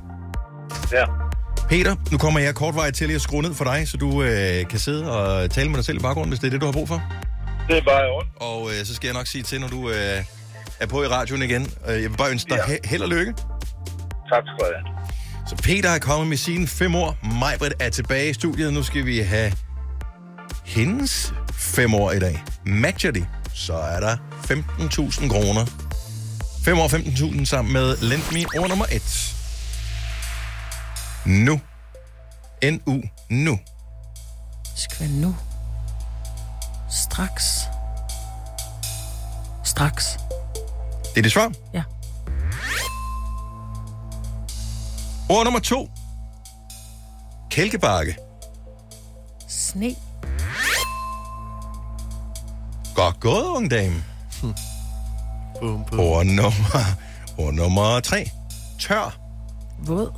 [SPEAKER 14] Ja.
[SPEAKER 1] Peter, nu kommer jeg kort vej til lige at skrue ned for dig, så du øh, kan sidde og tale med dig selv i baggrunden, hvis det er det, du har brug for.
[SPEAKER 14] Det er bare i orden.
[SPEAKER 1] Og øh, så skal jeg nok sige til, når du øh, er på i radioen igen. Øh, Jeg vil bare ønske dig ja. held og lykke.
[SPEAKER 14] Tak skal du have.
[SPEAKER 1] Så Peter er kommet med sine fem år. Majbrit er tilbage i studiet. Nu skal vi have hendes fem år i dag. Matcher de, så er der 15.000 kroner. 5 år 15.000 sammen med Lend Me ord nummer 1. Nu. N-U. Nu.
[SPEAKER 2] Skal være nu. Straks. Straks.
[SPEAKER 1] Det er det svar?
[SPEAKER 2] Ja.
[SPEAKER 1] Ord nummer 2. Kælkebakke.
[SPEAKER 2] Sne.
[SPEAKER 1] Godt gået, unge dame. Bum, bum. Ord nummer, ord nummer 3. Tør.
[SPEAKER 2] Våd.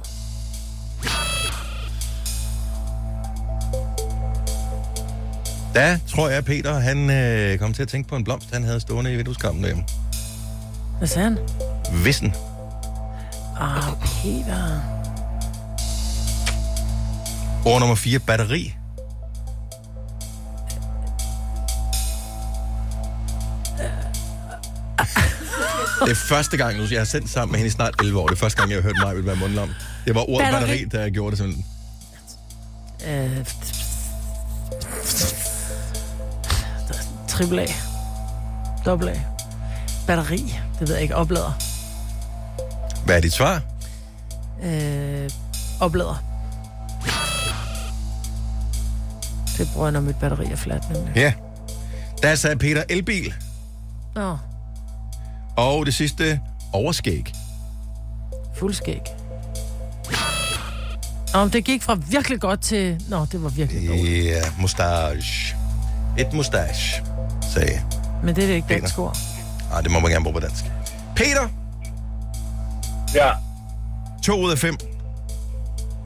[SPEAKER 1] Da tror jeg, Peter han øh, kom til at tænke på en blomst, han havde stående i vindueskampen derhjemme.
[SPEAKER 2] Hvad sagde han?
[SPEAKER 1] Vissen.
[SPEAKER 2] Ah, Peter.
[SPEAKER 1] Ord nummer 4. Batteri. Det er første gang, nu jeg har sendt sammen med hende i snart 11 år. Det er første gang, jeg har hørt mig vil være mundlam. Det var ordet
[SPEAKER 2] Batteri.
[SPEAKER 1] batteri, batteri der gjorde det sådan.
[SPEAKER 2] Øh, triple A. Double A. Batteri. Det ved jeg ikke. Oplader.
[SPEAKER 1] Hvad er dit svar?
[SPEAKER 2] Øh, oplader. Det bruger jeg, når mit batteri er fladt. øh, nemlig.
[SPEAKER 1] Ja. Der sagde Peter elbil.
[SPEAKER 2] Nå,
[SPEAKER 1] Og det sidste, overskæg.
[SPEAKER 2] fuldskæg. Nå, men det gik fra virkelig godt til... Nå, det var virkelig
[SPEAKER 1] Ja, yeah, mustache. Et mustache, sagde
[SPEAKER 2] Men det er det ikke dansk ord.
[SPEAKER 1] Nej, Ah, det må man gerne bruge på dansk. Peter!
[SPEAKER 14] Ja.
[SPEAKER 1] To ud af fem.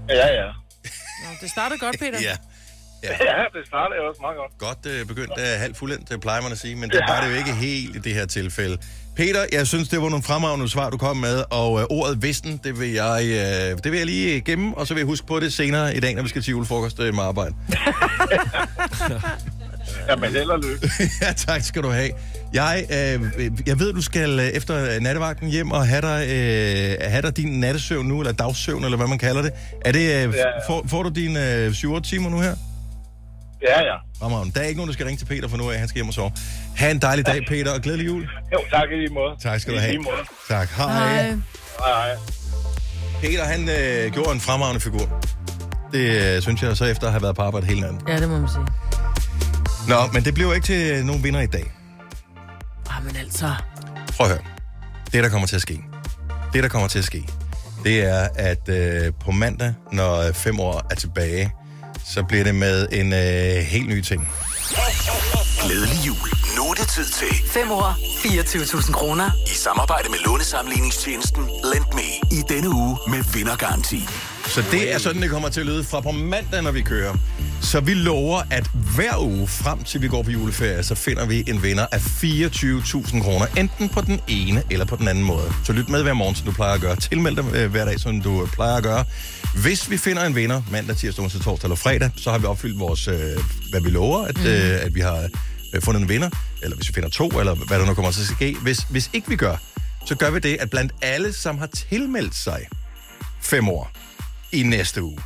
[SPEAKER 14] Ja, ja.
[SPEAKER 2] Nå, det startede godt, Peter.
[SPEAKER 1] Ja. Ja.
[SPEAKER 14] ja, det starter jo også meget godt.
[SPEAKER 1] Godt øh, begyndt af halvt fuldendt, det plejer man at sige, men det var det jo ikke helt i det her tilfælde. Peter, jeg synes, det var nogle fremragende svar, du kom med, og øh, ordet vissen, det vil, jeg, øh, det vil jeg lige gemme, og så vil jeg huske på det senere i dag, når vi skal til julefrokost øh, med arbejde.
[SPEAKER 14] Ja, men held og lykke.
[SPEAKER 1] ja, tak skal du have. Jeg, øh, jeg ved, du skal øh, efter øh, nattevagten hjem og have dig, øh, have dig din nattesøvn nu, eller dagsøvn, eller hvad man kalder det. Er det øh,
[SPEAKER 14] Ja.
[SPEAKER 1] får, får du dine øh, 7-8 timer nu her?
[SPEAKER 14] Ja, ja.
[SPEAKER 1] Fremragende. Der er ikke nogen, der skal ringe til Peter for nu af. Han skal hjem og sove. Ha' en dejlig dag, Peter, og glædelig jul.
[SPEAKER 14] Jo, tak i lige måde.
[SPEAKER 1] Tak skal du
[SPEAKER 14] I
[SPEAKER 1] have.
[SPEAKER 14] lige måde.
[SPEAKER 1] Tak. Hej. Hej.
[SPEAKER 14] Hej, hej.
[SPEAKER 1] Peter, han øh, gjorde en fremragende figur. Det øh, synes jeg så efter at have været på arbejde hele natten.
[SPEAKER 2] Ja, det må man sige.
[SPEAKER 1] Nå, men det blev ikke til nogen vinder i dag.
[SPEAKER 2] Ej, men altså...
[SPEAKER 1] Prøv at høre. Det, der kommer til at ske. Det, der kommer til at ske. Det er, at øh, på mandag, når øh, fem år er tilbage, så bliver det med en øh, helt ny ting.
[SPEAKER 15] Glædelig jul. Nu er det tid til
[SPEAKER 4] 5 år, 24.000 kroner.
[SPEAKER 15] i samarbejde med lånesamligningstjenesten Lend Me i denne uge med vindergaranti.
[SPEAKER 1] Så det er sådan, det kommer til at lyde fra på mandag, når vi kører. Så vi lover, at hver uge frem til vi går på juleferie, så finder vi en vinder af 24.000 kroner. Enten på den ene eller på den anden måde. Så lyt med hver morgen, som du plejer at gøre. Tilmeld dig øh, hver dag, som du øh, plejer at gøre. Hvis vi finder en vinder mandag, tirsdag, onsdag, torsdag eller fredag, så har vi opfyldt vores, øh, hvad vi lover, at, øh, at vi har øh, fundet en vinder. Eller hvis vi finder to, eller hvad der nu kommer til at ske. Hvis, hvis ikke vi gør, så gør vi det, at blandt alle, som har tilmeldt sig fem år, i næste uge.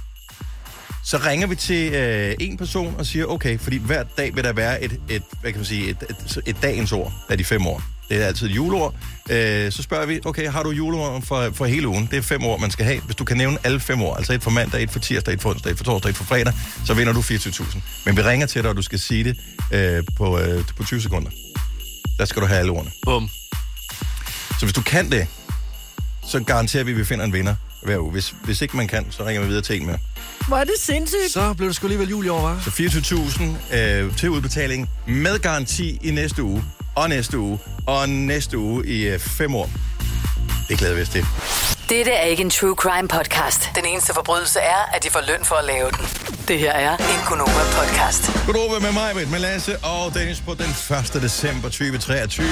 [SPEAKER 1] Så ringer vi til øh, en person og siger, okay, fordi hver dag vil der være et, et hvad kan man sige, et, et, et dagens ord af de fem år. Det er altid et juleord. Øh, så spørger vi, okay, har du juleord for, for hele ugen? Det er fem år, man skal have. Hvis du kan nævne alle fem år, altså et for mandag, et for tirsdag, et for onsdag, et for torsdag, et for fredag, så vinder du 24.000. Men vi ringer til dig, og du skal sige det øh, på, øh, på 20 sekunder. Der skal du have alle ordene.
[SPEAKER 3] Bum.
[SPEAKER 1] Så hvis du kan det, så garanterer vi, at vi finder en vinder hver uge. Hvis, hvis ikke man kan, så ringer vi videre til en mere.
[SPEAKER 2] Hvor er det sindssygt.
[SPEAKER 3] Så blev det sgu alligevel jul i år, hva'?
[SPEAKER 1] Så 24.000 øh, til udbetaling med garanti i næste uge, og næste uge, og næste uge i øh, fem år. Det glæder vi os til.
[SPEAKER 4] Dette er ikke en true crime podcast. Den eneste forbrydelse er, at de får løn for at lave den. Det her er en Gunova-podcast.
[SPEAKER 1] Godnova med mig, Britt, med Lasse og Dennis på den 1. december 2023.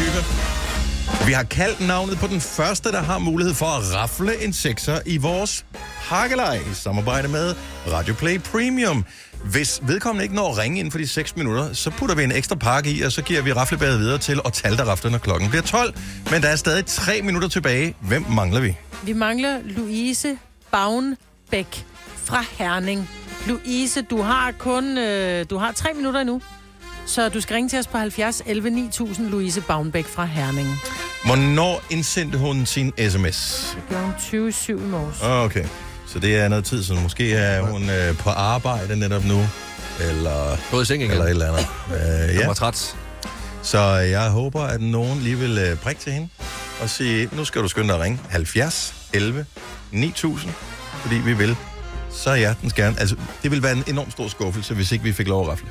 [SPEAKER 1] Vi har kaldt navnet på den første, der har mulighed for at rafle en sekser i vores hakkelej i samarbejde med Radio Play Premium. Hvis vedkommende ikke når at ringe inden for de 6 minutter, så putter vi en ekstra pakke i, og så giver vi raflebæret videre til og talte raflen, når klokken bliver 12. Men der er stadig 3 minutter tilbage. Hvem mangler vi?
[SPEAKER 2] Vi mangler Louise Baunbæk fra Herning. Louise, du har kun øh, du har tre minutter endnu. Så du skal ringe til os på 70 11 9000, Louise Baunbæk fra Herning.
[SPEAKER 1] Hvornår indsendte hun sin sms?
[SPEAKER 2] Klokken 27 i morges.
[SPEAKER 1] Okay, så det er noget tid siden. Måske er hun øh, på arbejde netop nu, eller...
[SPEAKER 3] Gået i seng igen.
[SPEAKER 1] Eller et eller andet. Øh,
[SPEAKER 3] Jeg
[SPEAKER 1] ja.
[SPEAKER 3] var træt.
[SPEAKER 1] Så jeg håber, at nogen lige vil øh, prikke til hende og sige, nu skal du skynde dig at ringe 70 11 9000, fordi vi vil så er hjertens gerne. Altså, det vil være en enorm stor skuffelse, hvis ikke vi fik lov at rafle.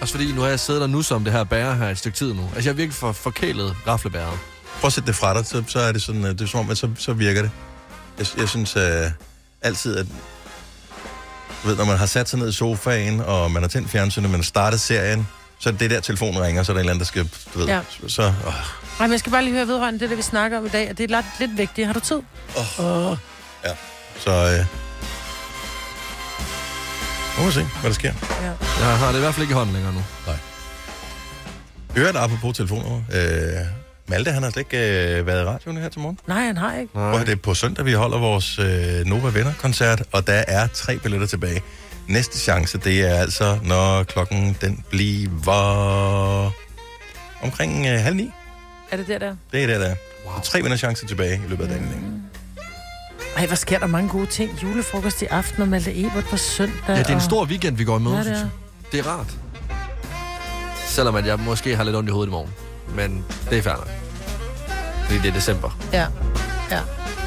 [SPEAKER 3] Også fordi, nu har jeg siddet og nu som det her bærer her et stykke tid nu. Altså, jeg er virkelig for forkælet raflebæret.
[SPEAKER 1] Prøv at sætte det fra dig, så, så er det sådan, øh, det er som om, at så, så virker det. Jeg, jeg synes øh, altid, at du ved, når man har sat sig ned i sofaen, og man har tændt fjernsynet, man har startet serien, så er det der, telefonen ringer, så er der en eller anden, der skal, du ved,
[SPEAKER 2] Ja.
[SPEAKER 1] ja. så, åh,
[SPEAKER 2] Nej, men jeg skal bare lige høre vedrørende det, der vi snakker om i dag, og det er lidt, lidt vigtigt. Har du tid?
[SPEAKER 1] Åh.
[SPEAKER 2] Oh.
[SPEAKER 1] ja, så, øh, må vi se, hvad der sker.
[SPEAKER 2] Ja.
[SPEAKER 3] Jeg har det i hvert fald ikke i hånden længere nu.
[SPEAKER 1] Nej. Hører der apropos telefoner, øh, Malte, han har slet ikke øh, været i radioen her til morgen.
[SPEAKER 2] Nej, han har ikke.
[SPEAKER 1] Og det er på søndag, vi holder vores øh, Nova Venner-koncert, og der er tre billetter tilbage. Næste chance, det er altså, når klokken den bliver omkring øh, halv ni.
[SPEAKER 2] Er det der der?
[SPEAKER 1] Det er der, der er. Wow. Så tre vinderchancer tilbage i løbet af dagen. ikke?
[SPEAKER 2] Ej, hvor sker der mange gode ting. Julefrokost i aften og Malte Ebert på søndag.
[SPEAKER 3] Ja, det er en
[SPEAKER 2] og-
[SPEAKER 3] stor weekend, vi går i møde,
[SPEAKER 2] Ja, det
[SPEAKER 3] synes
[SPEAKER 2] er.
[SPEAKER 3] jeg. Det er rart. Selvom at jeg måske har lidt ondt i hovedet i morgen. Men det er fair nok. Fordi det er december.
[SPEAKER 2] Ja, ja.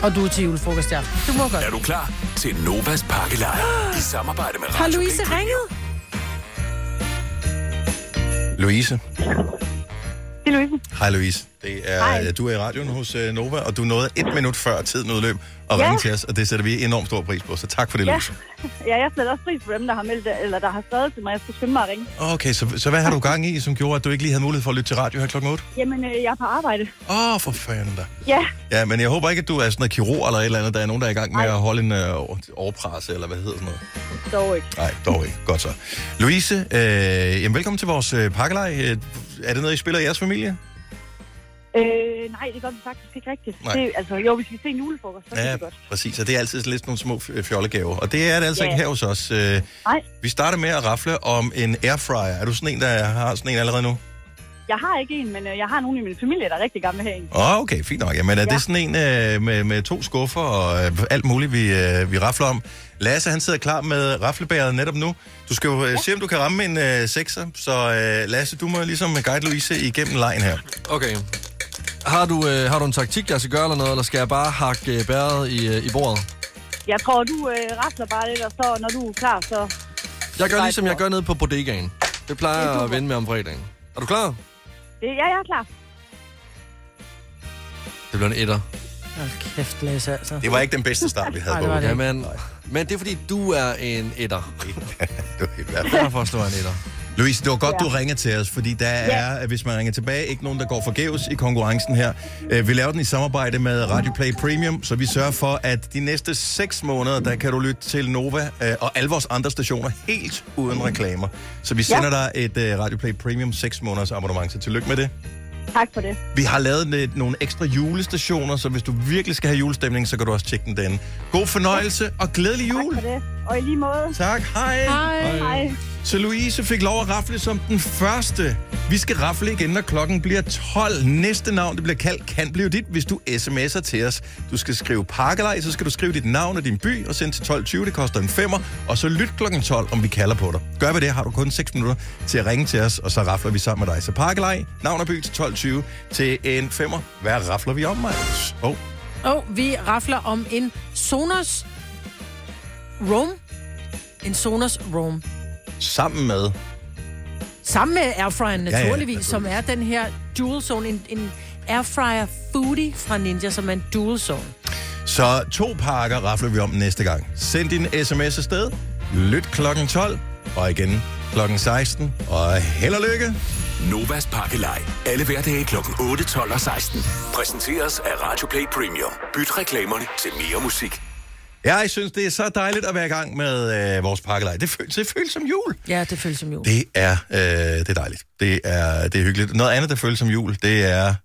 [SPEAKER 2] Og du er til julefrokost i aften. Du må godt.
[SPEAKER 15] Er du klar til Novas pakkelejr i samarbejde med
[SPEAKER 2] Har
[SPEAKER 15] Radio
[SPEAKER 2] Louise ringet?
[SPEAKER 1] Louise.
[SPEAKER 10] Det er Louise.
[SPEAKER 1] Hej Louise. Det er, Hej. Du er i radioen hos øh, Nova, og du nåede et minut før tiden udløb og
[SPEAKER 16] Ja.
[SPEAKER 1] ja. ringe til os, og det sætter vi enormt stor pris på, så tak for det,
[SPEAKER 16] ja.
[SPEAKER 1] Louise.
[SPEAKER 16] ja, jeg sætter også pris på dem, der har meldt, eller der har skrevet til mig, at jeg skulle skynde mig at ringe.
[SPEAKER 1] Okay, så, så hvad har du gang i, som gjorde, at du ikke lige havde mulighed for at lytte til radio her klokken 8?
[SPEAKER 16] Jamen, øh, jeg er på arbejde.
[SPEAKER 1] Åh, oh, for fanden da.
[SPEAKER 16] Ja,
[SPEAKER 1] Ja, men jeg håber ikke, at du er sådan en kirurg eller et eller andet. Der er nogen, der er i gang med at holde en øh, over- overpresse, eller hvad hedder sådan noget.
[SPEAKER 16] dog ikke.
[SPEAKER 1] Nej, dog ikke. Godt så. Louise, øh, jamen, velkommen til vores øh, pakkelej. Øh, Er det noget, I spiller i jeres familie?
[SPEAKER 16] Øh, nej, det gør vi faktisk ikke rigtigt.
[SPEAKER 1] Nej.
[SPEAKER 16] Det, altså, jo, hvis vi ser en julefrokost, så ja. er det godt.
[SPEAKER 1] præcis. Og det er altid sådan lidt sådan nogle små f- fjollegaver. Og det er det altså
[SPEAKER 16] Ja.
[SPEAKER 1] ikke her hos os. Øh,
[SPEAKER 16] Nej,
[SPEAKER 1] Vi starter med at rafle om en airfryer. Er du sådan en, der har sådan en allerede nu?
[SPEAKER 16] jeg har ikke en, men øh, jeg har nogen i min familie, der er rigtig gamle her en.
[SPEAKER 1] Åh, oh, okay, fint nok. Jamen, er ja.
[SPEAKER 16] Ja.
[SPEAKER 1] det sådan en øh, med, med to skuffer og øh, alt muligt, vi, øh, vi rafler om? Lasse, han sidder klar med raflebæret netop nu. Du skal jo øh, se, om du kan ramme en øh, sekser. Så øh, Lasse, du må ligesom guide Louise igennem lejen her.
[SPEAKER 3] Okay. Har du, øh, har du en taktik, jeg skal gøre eller noget, eller skal jeg bare hakke øh, bæret i, øh, i bordet?
[SPEAKER 16] Jeg tror, du øh, rasler bare lidt, og så når du er klar, så...
[SPEAKER 3] Jeg gør ligesom jeg gør nede på bodegaen. Det plejer jeg at vende med om fredagen. Er du klar?
[SPEAKER 16] Det, ja, jeg er klar.
[SPEAKER 3] Det bliver en etter.
[SPEAKER 2] Hold kæft, Lasse, altså.
[SPEAKER 1] Det var ikke den bedste start, vi havde
[SPEAKER 2] Nej,
[SPEAKER 1] på.
[SPEAKER 2] det var det ikke.
[SPEAKER 3] Jamen, men det er fordi, du er en etter.
[SPEAKER 1] du er i hvert fald.
[SPEAKER 3] Derfor slår jeg en etter.
[SPEAKER 1] Louise, det var godt, ja.
[SPEAKER 3] Ja.
[SPEAKER 1] du ringer til os, fordi der
[SPEAKER 3] Ja.
[SPEAKER 1] er, at hvis man ringer tilbage, ikke nogen, der går forgæves i konkurrencen her. Øh, Vi laver den i samarbejde med Radio Play Premium, så vi sørger for, at de næste 6 måneder, der kan du lytte til Nova øh, og alle vores andre stationer helt uden reklamer. Så vi sender ja. dig et øh, Radio Play Premium 6 måneders abonnement, så tillykke med det.
[SPEAKER 16] Tak for det.
[SPEAKER 1] Vi har lavet lidt, nogle ekstra julestationer, så hvis du virkelig skal have julestemning, så kan du også tjekke den derinde. God fornøjelse og glædelig jul!
[SPEAKER 16] Tak for det. Og i lige måde.
[SPEAKER 1] Tak, hej.
[SPEAKER 16] Hej. hej.
[SPEAKER 1] Så Louise fik lov at rafle som den første. Vi skal rafle igen, når klokken bliver 12. Næste navn, det bliver kaldt, kan blive dit, hvis du sms'er til os. Du skal skrive pakkelej, så skal du skrive dit navn og din by og sende til 12.20. Det koster en femmer. Og så lyt klokken 12, om vi kalder på dig. Gør vi det, har du kun 6 minutter til at ringe til os, og så rafler vi sammen med dig. Så pakkelej, navn og by til 12.20 til en femmer. Hvad rafler vi om, Magnus? Oh.
[SPEAKER 2] Og vi rafler om en Sonos Roam. En Sonos Roam.
[SPEAKER 1] Sammen med...
[SPEAKER 2] Sammen med airfryeren
[SPEAKER 1] Ja, ja,
[SPEAKER 2] naturligvis, som er den her dual zone, en, en airfryer foodie fra Ninja, som er en dual zone.
[SPEAKER 1] Så to pakker rafler vi om næste gang. Send din sms afsted. Lyt klokken 12, og igen klokken 16. Og held og lykke.
[SPEAKER 15] Novas Pakkelej. Alle hverdage kl. 8, 12 og 16. Præsenteres af Radio Play Premium. Byt reklamerne til mere musik.
[SPEAKER 1] Jeg synes, det er så dejligt at være i gang med øh, vores pakkelej. Det, føl- det føles som jul.
[SPEAKER 2] Ja, det føles som jul.
[SPEAKER 1] Det er, øh, det er dejligt. Det er, det er hyggeligt. Noget andet, der føles som jul, det er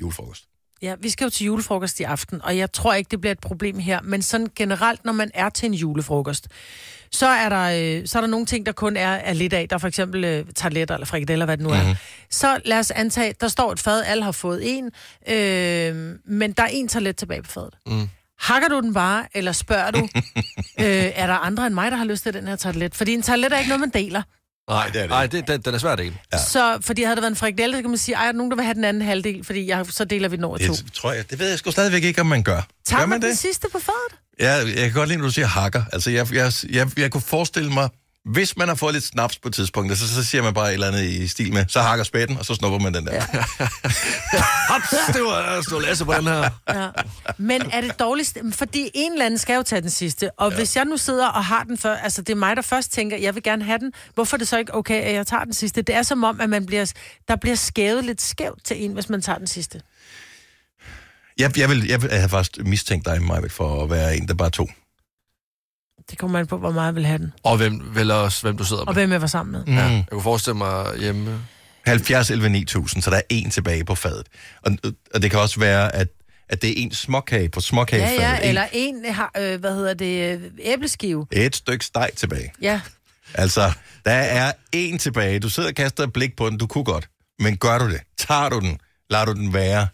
[SPEAKER 1] julefrokost.
[SPEAKER 2] Ja, vi skal jo til julefrokost i aften, og jeg tror ikke, det bliver et problem her. Men sådan generelt, når man er til en julefrokost, så er der, øh, så er der nogle ting, der kun er, er lidt af. Der er for eksempel øh, tartletter eller frikadeller, hvad det nu mm-hmm. er. Så lad os antage, der står et fad, alle har fået en, øh, men der er en tartlet tilbage på fadet.
[SPEAKER 6] Mm.
[SPEAKER 2] Hakker du den bare, eller spørger du, øh, er der andre end mig, der har lyst til den her tartlet? Fordi en tartlet er ikke noget, man deler.
[SPEAKER 3] Nej, det er det. Nej, det, den, den er svær at dele.
[SPEAKER 2] Ja. Så, fordi havde det været en frikadelle, så kan man sige, ej, er der nogen, der vil have den anden halvdel? Fordi jeg, så deler vi den over to.
[SPEAKER 1] Det tror jeg, det ved jeg sgu stadigvæk ikke, om man gør.
[SPEAKER 2] Tager
[SPEAKER 1] gør
[SPEAKER 2] man, man den sidste på fadet?
[SPEAKER 1] Ja, jeg kan godt lide, når du siger hakker. Altså, jeg, jeg, jeg, jeg kunne forestille mig, hvis man har fået lidt snaps på et tidspunkt, så, så siger man bare et eller andet i stil med, så hakker spætten, og så snupper man den der. Ja.
[SPEAKER 3] Hops, det var stå Lasse på den her.
[SPEAKER 2] Ja. Men er det dårligst? Fordi en eller anden skal jo tage den sidste. Og ja. hvis jeg nu sidder og har den før, altså det er mig, der først tænker, jeg vil gerne have den, hvorfor er det så ikke okay, at jeg tager den sidste? Det er som om, at man bliver, der bliver skævet lidt skævt til en, hvis man tager den sidste.
[SPEAKER 1] Jeg, jeg, vil, jeg, vil- jeg havde faktisk mistænkt dig, Majbet, for at være en, der bare tog.
[SPEAKER 2] Det kommer an på, hvor meget jeg vil have den.
[SPEAKER 3] Og hvem, vel også, hvem du sidder med.
[SPEAKER 2] Og hvem jeg var sammen med.
[SPEAKER 1] Mm.
[SPEAKER 3] Ja, jeg kunne forestille mig hjemme.
[SPEAKER 1] 70, 11, 9000, så der er en tilbage på fadet. Og, og det kan også være, at, at det er en småkage på
[SPEAKER 2] Ja,
[SPEAKER 1] småkagefadet.
[SPEAKER 2] ja, eller en, har, øh, hvad hedder det, øh, æbleskive.
[SPEAKER 1] En, et stykke steg tilbage.
[SPEAKER 2] Ja,
[SPEAKER 1] Altså, der er en tilbage. Du sidder og kaster et blik på den. Du kunne godt. Men gør du det? Tager du den? Lader du den være?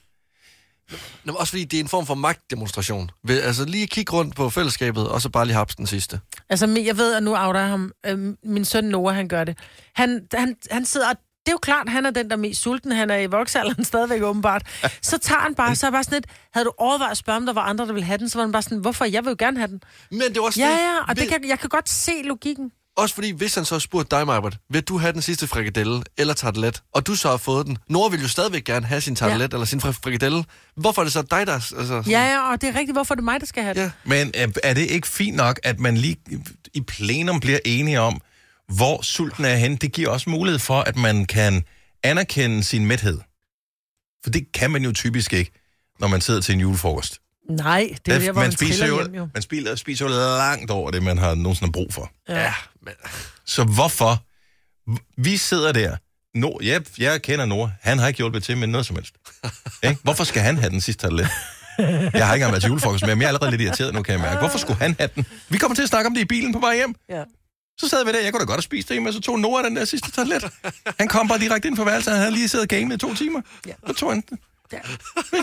[SPEAKER 3] Nå, men også fordi det er en form for magtdemonstration. Ved, altså lige kigge rundt på fællesskabet, og så bare lige haps den sidste.
[SPEAKER 2] Altså, men jeg ved, at nu outer jeg ham. Øh, min søn Noah, han gør det. Han, han, han sidder, og det er jo klart, han er den, der er mest sulten. Han er i voksalderen stadigvæk åbenbart. Så tager han bare, så er jeg bare sådan lidt, havde du overvejet at spørge, om der var andre, der ville have den? Øh, Så var han bare sådan, hvorfor? Jeg vil jo gerne have den.
[SPEAKER 3] Men det var også
[SPEAKER 2] Ja,
[SPEAKER 3] det.
[SPEAKER 2] ja, og det kan, jeg kan godt se logikken.
[SPEAKER 3] Også fordi, hvis han så spurgte dig, Marbert, vil du have den sidste frikadelle eller tartelet, og du så har fået den. Nora vil jo stadigvæk gerne have sin tartelet ja. eller sin fri- frikadelle. Hvorfor er det så dig, der... Altså,
[SPEAKER 2] Ja, ja, og det er rigtigt. Hvorfor er det mig, der skal have det? Ja.
[SPEAKER 1] Men øh, er det ikke fint nok, at man lige i plenum bliver enige om, hvor sulten er henne? Det giver også mulighed for, at man kan anerkende sin mæthed. For det kan man jo typisk ikke, når man sidder til en julefrokost.
[SPEAKER 2] Nej, det er der, hvor man, man triller
[SPEAKER 1] jo,
[SPEAKER 2] hjem jo.
[SPEAKER 1] man spiser, spiser jo langt over det, man har nogensinde brug for.
[SPEAKER 2] Ja.
[SPEAKER 1] Så hvorfor? Vi sidder der. No, ja, jeg kender Nora. Han har ikke hjulpet til med noget som helst. Ik? Hvorfor skal han have den sidste tartelet? Jeg har ikke engang været til julefrokost med ham. Jeg er allerede lidt irriteret nu, kan jeg mærke. Hvorfor skulle han have den? Vi kommer til at snakke om det i bilen på vej hjem.
[SPEAKER 2] Ja.
[SPEAKER 1] Så sad vi der. Jeg kunne da godt have spist det, men så tog Nora den der sidste tartelet. Han kom bare direkte ind på værelset. Han havde lige siddet og gamet i to timer. Ja. Så tog han den.
[SPEAKER 2] Ja.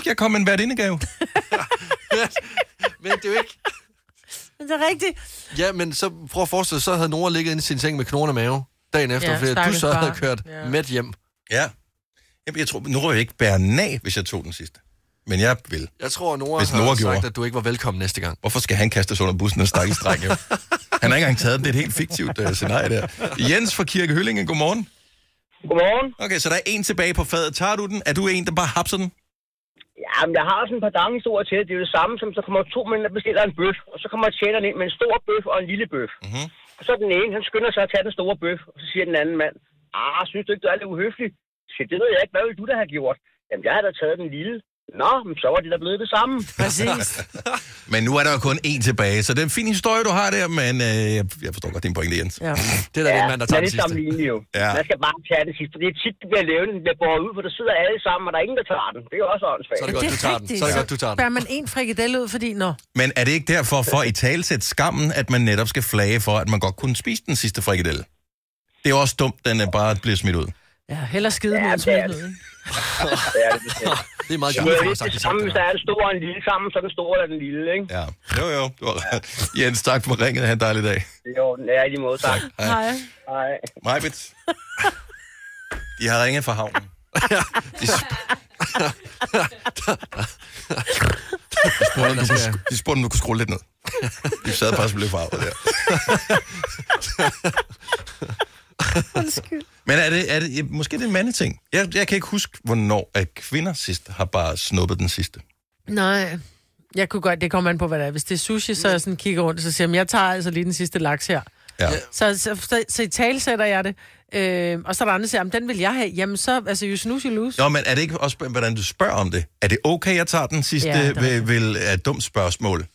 [SPEAKER 1] Jeg kom med en værtindegave.
[SPEAKER 3] Men det er jo ikke...
[SPEAKER 2] Men det er rigtigt.
[SPEAKER 3] Ja, men så prøv at forestille dig, så havde Nora ligget inde i sin seng med knoglerne mave dagen efter,
[SPEAKER 2] Ja,
[SPEAKER 3] ja, fordi du
[SPEAKER 2] stakkels
[SPEAKER 3] så havde
[SPEAKER 2] far.
[SPEAKER 3] kørt
[SPEAKER 2] Ja.
[SPEAKER 3] ja. med hjem.
[SPEAKER 1] Ja. Jamen, jeg tror, nu rører jeg ikke bære den af, hvis jeg tog den sidste. Men jeg vil.
[SPEAKER 3] Jeg tror, Nora
[SPEAKER 1] Hvis
[SPEAKER 3] har
[SPEAKER 1] Nora
[SPEAKER 3] sagt,
[SPEAKER 1] gjorde.
[SPEAKER 3] at du ikke var velkommen næste gang.
[SPEAKER 1] Hvorfor skal han kastes under bussen og stakke stræk? Han har ikke engang taget den. Det er et helt fiktivt uh, scenarie der. Jens fra Kirke Høllingen, godmorgen.
[SPEAKER 17] Godmorgen.
[SPEAKER 1] Okay, så der er en tilbage på fadet. Tager du den? Er du en, der bare hapser den?
[SPEAKER 17] Jamen, jeg har også en par dangsord til. Det er jo det samme, som så kommer to mænd og bestiller en bøf, og så kommer tjeneren ind med en stor bøf og en lille bøf.
[SPEAKER 1] Mm-hmm.
[SPEAKER 17] Og så den ene, han skynder sig at tage den store bøf, og så siger den anden mand, ah, synes du ikke, du er lidt uhøflig? Så siger, jeg, det ved jeg ikke, hvad vil du da have gjort? Jamen, jeg har da taget den lille. Nå, men så var det da blevet det samme.
[SPEAKER 2] Præcis.
[SPEAKER 1] Men nu er der jo kun en tilbage, så det er en fin historie, du har der, men uh, jeg forstår godt din pointe, Jens.
[SPEAKER 2] Ja.
[SPEAKER 3] Det er da den mand, der tager
[SPEAKER 17] man
[SPEAKER 3] den
[SPEAKER 17] er
[SPEAKER 3] sidste.
[SPEAKER 17] sammenlignelig jo.
[SPEAKER 1] Ja.
[SPEAKER 17] Ja. Man skal bare tage den sidste, for det er tit, det bliver levende, den bliver båret ud, for der sidder alle sammen, og der er ingen, der tager den. Det er jo også åndssvagt. Så
[SPEAKER 2] Ja, det er rigtigt. bærer man en frikadelle ud, fordi... Nå,
[SPEAKER 1] Men er det ikke derfor for i talsæt skammen, at man netop skal flage for, at man godt kunne spise den sidste frikadelle? Det er jo også dumt, den er bare bliver smidt ud.
[SPEAKER 2] ja, hellere skide ja, end smide den ud, ikke?
[SPEAKER 17] det er det. bestemt.
[SPEAKER 3] Det er meget
[SPEAKER 17] Det
[SPEAKER 1] julefrokost,
[SPEAKER 17] er lidt
[SPEAKER 1] sagt,
[SPEAKER 17] det
[SPEAKER 1] det
[SPEAKER 17] samme,
[SPEAKER 1] sagt,
[SPEAKER 17] hvis der er en stor og en lille sammen, så er den store eller den lille, ikke?
[SPEAKER 1] Ja. Jo, jo. Du har... ret. Jens, tak for ringet. Ha' en dejlig dag.
[SPEAKER 17] Det er i orden. Ja, i lige måde, tak.
[SPEAKER 1] Hej.
[SPEAKER 17] Hej.
[SPEAKER 1] Majbet. De har ringet fra havnen. De, sp- de, spurgte, om du kunne, de spurgte, om du kunne skrue lidt ned. De sad faktisk og blev farvet der.
[SPEAKER 2] Undskyld.
[SPEAKER 1] Men er det, er det, ja, måske det er en mandeting. Jeg, jeg kan ikke huske, hvornår at kvinder sidst har bare snuppet den sidste.
[SPEAKER 2] Nej. Jeg kunne godt, det kommer an på, hvad det er. Hvis det er sushi, så jeg sådan kigger rundt, så siger jeg, "Men jeg tager altså lige den sidste laks her.
[SPEAKER 1] Ja.
[SPEAKER 2] Så, så, så, så i tale sætter jeg det. Øh, og så er der andre, der siger, "Jamen, den vil jeg have. Jamen så, altså, you snooze, you lose.
[SPEAKER 1] Nå, men er det ikke også, hvordan du spørger om det? Er det okay, jeg tager den sidste,
[SPEAKER 2] Ja, det
[SPEAKER 1] ja,
[SPEAKER 2] er
[SPEAKER 1] vil, vil, er et dumt spørgsmål?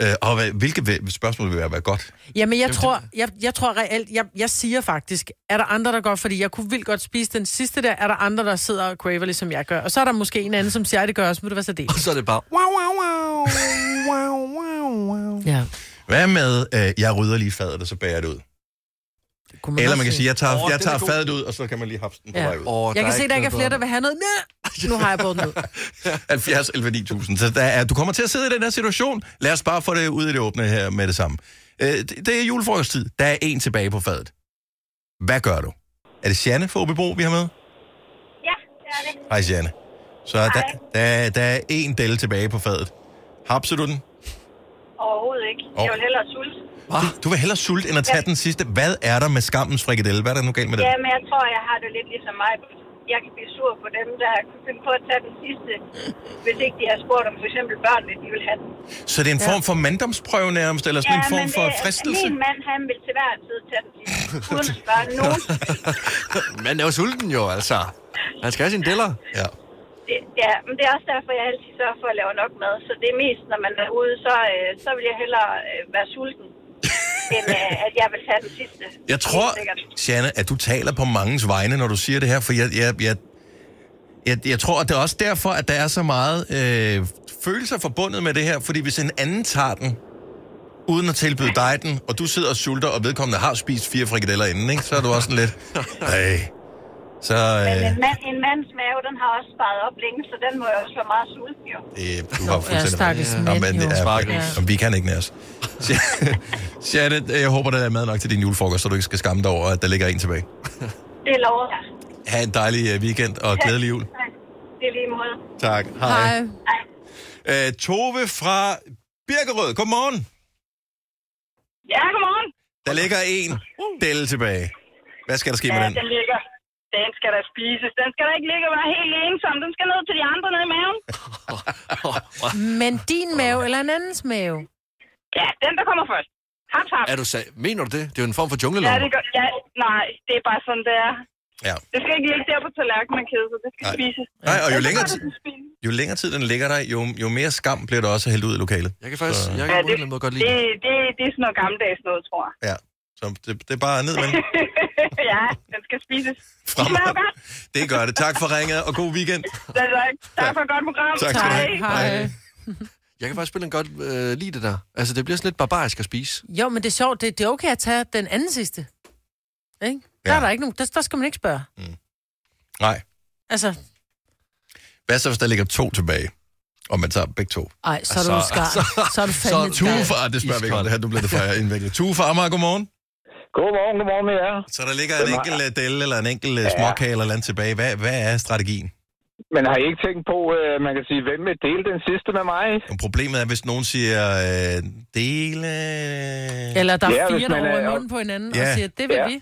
[SPEAKER 1] Øh, og hvad, hvilke vil- spørgsmål vil være, være godt?
[SPEAKER 2] Jamen, jeg
[SPEAKER 1] Jamen,
[SPEAKER 2] tror, jeg, jeg tror reelt, jeg, jeg siger faktisk, er der andre, der går, fordi jeg kunne vildt godt spise den sidste der, er der andre, der sidder og craver, ligesom jeg gør. Og så er der måske en anden, som siger, "Ej, det gør også, men det var så det.
[SPEAKER 3] Og så er det bare...
[SPEAKER 2] Wow, wow, wow, wow, wow, wow. Ja.
[SPEAKER 1] Hvad med, øh, jeg rydder lige fadet, og så bærer jeg det ud?
[SPEAKER 2] man
[SPEAKER 1] Eller
[SPEAKER 2] også
[SPEAKER 1] man kan
[SPEAKER 2] sige.
[SPEAKER 1] sige, jeg tager,
[SPEAKER 2] Åh,
[SPEAKER 1] jeg
[SPEAKER 2] den er
[SPEAKER 1] tager
[SPEAKER 2] god.
[SPEAKER 1] fadet ud, og så kan man lige hapse den på
[SPEAKER 2] Ja.
[SPEAKER 1] vej ud.
[SPEAKER 2] jeg kan se, der ikke er flere, der vil have noget. Næh, Nu har jeg båden ud.
[SPEAKER 1] 70 11 9000. Så der er, du kommer til at sidde i den her situation. Lad os bare få det ud i det åbne her med det samme. Øh, det, det er julefrokosttid. Der er en tilbage på fadet. Hvad gør du? Er det Janne fra Åbebro, vi har med?
[SPEAKER 18] Ja, det er det.
[SPEAKER 1] Hej, Janne. Så der, der, der er en del tilbage på fadet. Hapser du den?
[SPEAKER 18] Overhovedet ikke. Jeg vil hellere sulte.
[SPEAKER 1] Du, du vil hellere sulte, end at tage
[SPEAKER 18] Ja.
[SPEAKER 1] den sidste. Hvad er der med skammens frikadelle? Hvad er der nu galt med den?
[SPEAKER 18] Ja, men jeg tror, jeg har det lidt ligesom mig. Jeg kan blive sur på dem, der kunne finde på at tage den sidste, hvis ikke de har spurgt om for eksempel børnene, de vil have den.
[SPEAKER 1] Så det er en form for manddomsprøve nærmest, eller sådan en form
[SPEAKER 18] men
[SPEAKER 1] for
[SPEAKER 18] det-
[SPEAKER 1] fristelse?
[SPEAKER 18] Min mand, han vil til hver tid tage den sidste, uden at spørge nogen.
[SPEAKER 3] Man er jo sulten jo, altså. Han skal have sine deller.
[SPEAKER 1] Ja.
[SPEAKER 18] Det, ja, men det er også derfor, jeg altid sørger for at lave nok mad. Så det er mest, når man er ude, så, øh, så vil jeg hellere øh, være sulten, end øh, at jeg vil tage den sidste.
[SPEAKER 1] Jeg tror,
[SPEAKER 18] Helt sikkert.
[SPEAKER 1] Shanna, at du taler på mangens vegne, når du siger det her, for jeg, jeg, jeg, jeg, jeg tror, at det er også derfor, at der er så meget øh, følelser forbundet med det her, fordi hvis en anden tager den, uden at tilbyde dig den, og du sidder og sulter, og vedkommende har spist fire frikadeller inden, ikke? så er du også sådan lidt, nej, så
[SPEAKER 18] Men
[SPEAKER 1] øh,
[SPEAKER 18] en, mand, en mands mave, den har også sparet op længe, så den må jo også være meget sulten, jo.
[SPEAKER 1] øh, du har
[SPEAKER 2] Ja,
[SPEAKER 1] fuldstændig
[SPEAKER 2] stakkels mænd,
[SPEAKER 1] Nå, men,
[SPEAKER 2] jo.
[SPEAKER 1] det er,
[SPEAKER 2] Stakkels.
[SPEAKER 1] ja. Vi kan ikke næres. Shanna, jeg håber, der er mad nok til din julefrokost, så du ikke skal skamme dig over, at der ligger en tilbage.
[SPEAKER 18] Det lover jeg.
[SPEAKER 1] Ha' en dejlig øh, weekend, og glædelig jul.
[SPEAKER 18] Det er lige måde.
[SPEAKER 1] Tak. Hej. Hej. Øh, Tove fra Birkerød, godmorgen.
[SPEAKER 18] Ja, godmorgen.
[SPEAKER 1] Der ligger en del tilbage. Hvad skal der ske med
[SPEAKER 18] ja,
[SPEAKER 1] den?
[SPEAKER 18] den ligger. Den skal da spises. Den skal da ikke ligge og være helt ensom. Den skal ned til de andre nede i maven.
[SPEAKER 2] Men din mave eller en andens mave?
[SPEAKER 18] Ja, den der kommer først. Hap, hap.
[SPEAKER 3] Er du sag... Mener du det? Det er jo en form for
[SPEAKER 18] Ja,
[SPEAKER 3] junglelov.
[SPEAKER 18] det gør, ja, nej, det er bare sådan, det er.
[SPEAKER 1] Ja.
[SPEAKER 18] Det skal ikke ligge der på tallerkenen og kede sig. Det skal
[SPEAKER 1] Nej.
[SPEAKER 18] spises.
[SPEAKER 1] Nej, og jo
[SPEAKER 18] Ellers
[SPEAKER 1] længere
[SPEAKER 18] er det
[SPEAKER 1] tid- Jo længere tid den ligger der, jo, jo mere skam bliver der også hældt ud i lokalet.
[SPEAKER 3] Jeg kan faktisk...
[SPEAKER 1] Så,
[SPEAKER 3] Jeg
[SPEAKER 18] Ja,
[SPEAKER 3] kan på en
[SPEAKER 18] det,
[SPEAKER 3] eller anden måde godt lide
[SPEAKER 18] det,
[SPEAKER 3] det.
[SPEAKER 18] det, det er sådan noget gammeldags noget, tror jeg.
[SPEAKER 1] ja. Så det, det er bare ned med den.
[SPEAKER 18] ja, den skal spises. Det
[SPEAKER 1] Fra-
[SPEAKER 18] smager godt.
[SPEAKER 1] Det gør det. Tak for ringet, og god weekend.
[SPEAKER 18] Det er godt. Tak for et godt program.
[SPEAKER 1] Tak skal du have. Hej. Hej.
[SPEAKER 3] Jeg kan faktisk spille en godt øh, lide det der. Altså, det bliver sådan lidt barbarisk at spise.
[SPEAKER 2] Jo, men det er sjovt. Det, det er okay at tage den anden sidste. Ikke? Der
[SPEAKER 1] Ja.
[SPEAKER 2] er der ikke nogen. Der, der skal man ikke spørge.
[SPEAKER 1] Nej.
[SPEAKER 2] Altså,
[SPEAKER 1] Hvad så, hvis der ligger to tilbage? Og man tager begge to.
[SPEAKER 2] ej, så er du altså, skar. Så, er du fandme
[SPEAKER 1] så, Tue fra, det spørger vi ikke om det her, du bliver det for indviklet. Tue fra Amager, godmorgen.
[SPEAKER 19] Godmorgen, godmorgen med jer.
[SPEAKER 1] Så der ligger en enkelt øh, del eller en enkelt ja. småkage eller et eller andet tilbage. Hvad, hvad er strategien?
[SPEAKER 19] Men har I ikke tænkt på, øh, man kan sige, hvem vil dele den sidste med mig?
[SPEAKER 1] Men Problemet er, hvis nogen siger, øh, dele...
[SPEAKER 2] Eller der er
[SPEAKER 19] Ja, hvis
[SPEAKER 2] fire, der
[SPEAKER 19] man er-
[SPEAKER 2] over munden på hinanden
[SPEAKER 1] Ja.
[SPEAKER 2] og siger, det vil
[SPEAKER 19] Ja.
[SPEAKER 2] vi.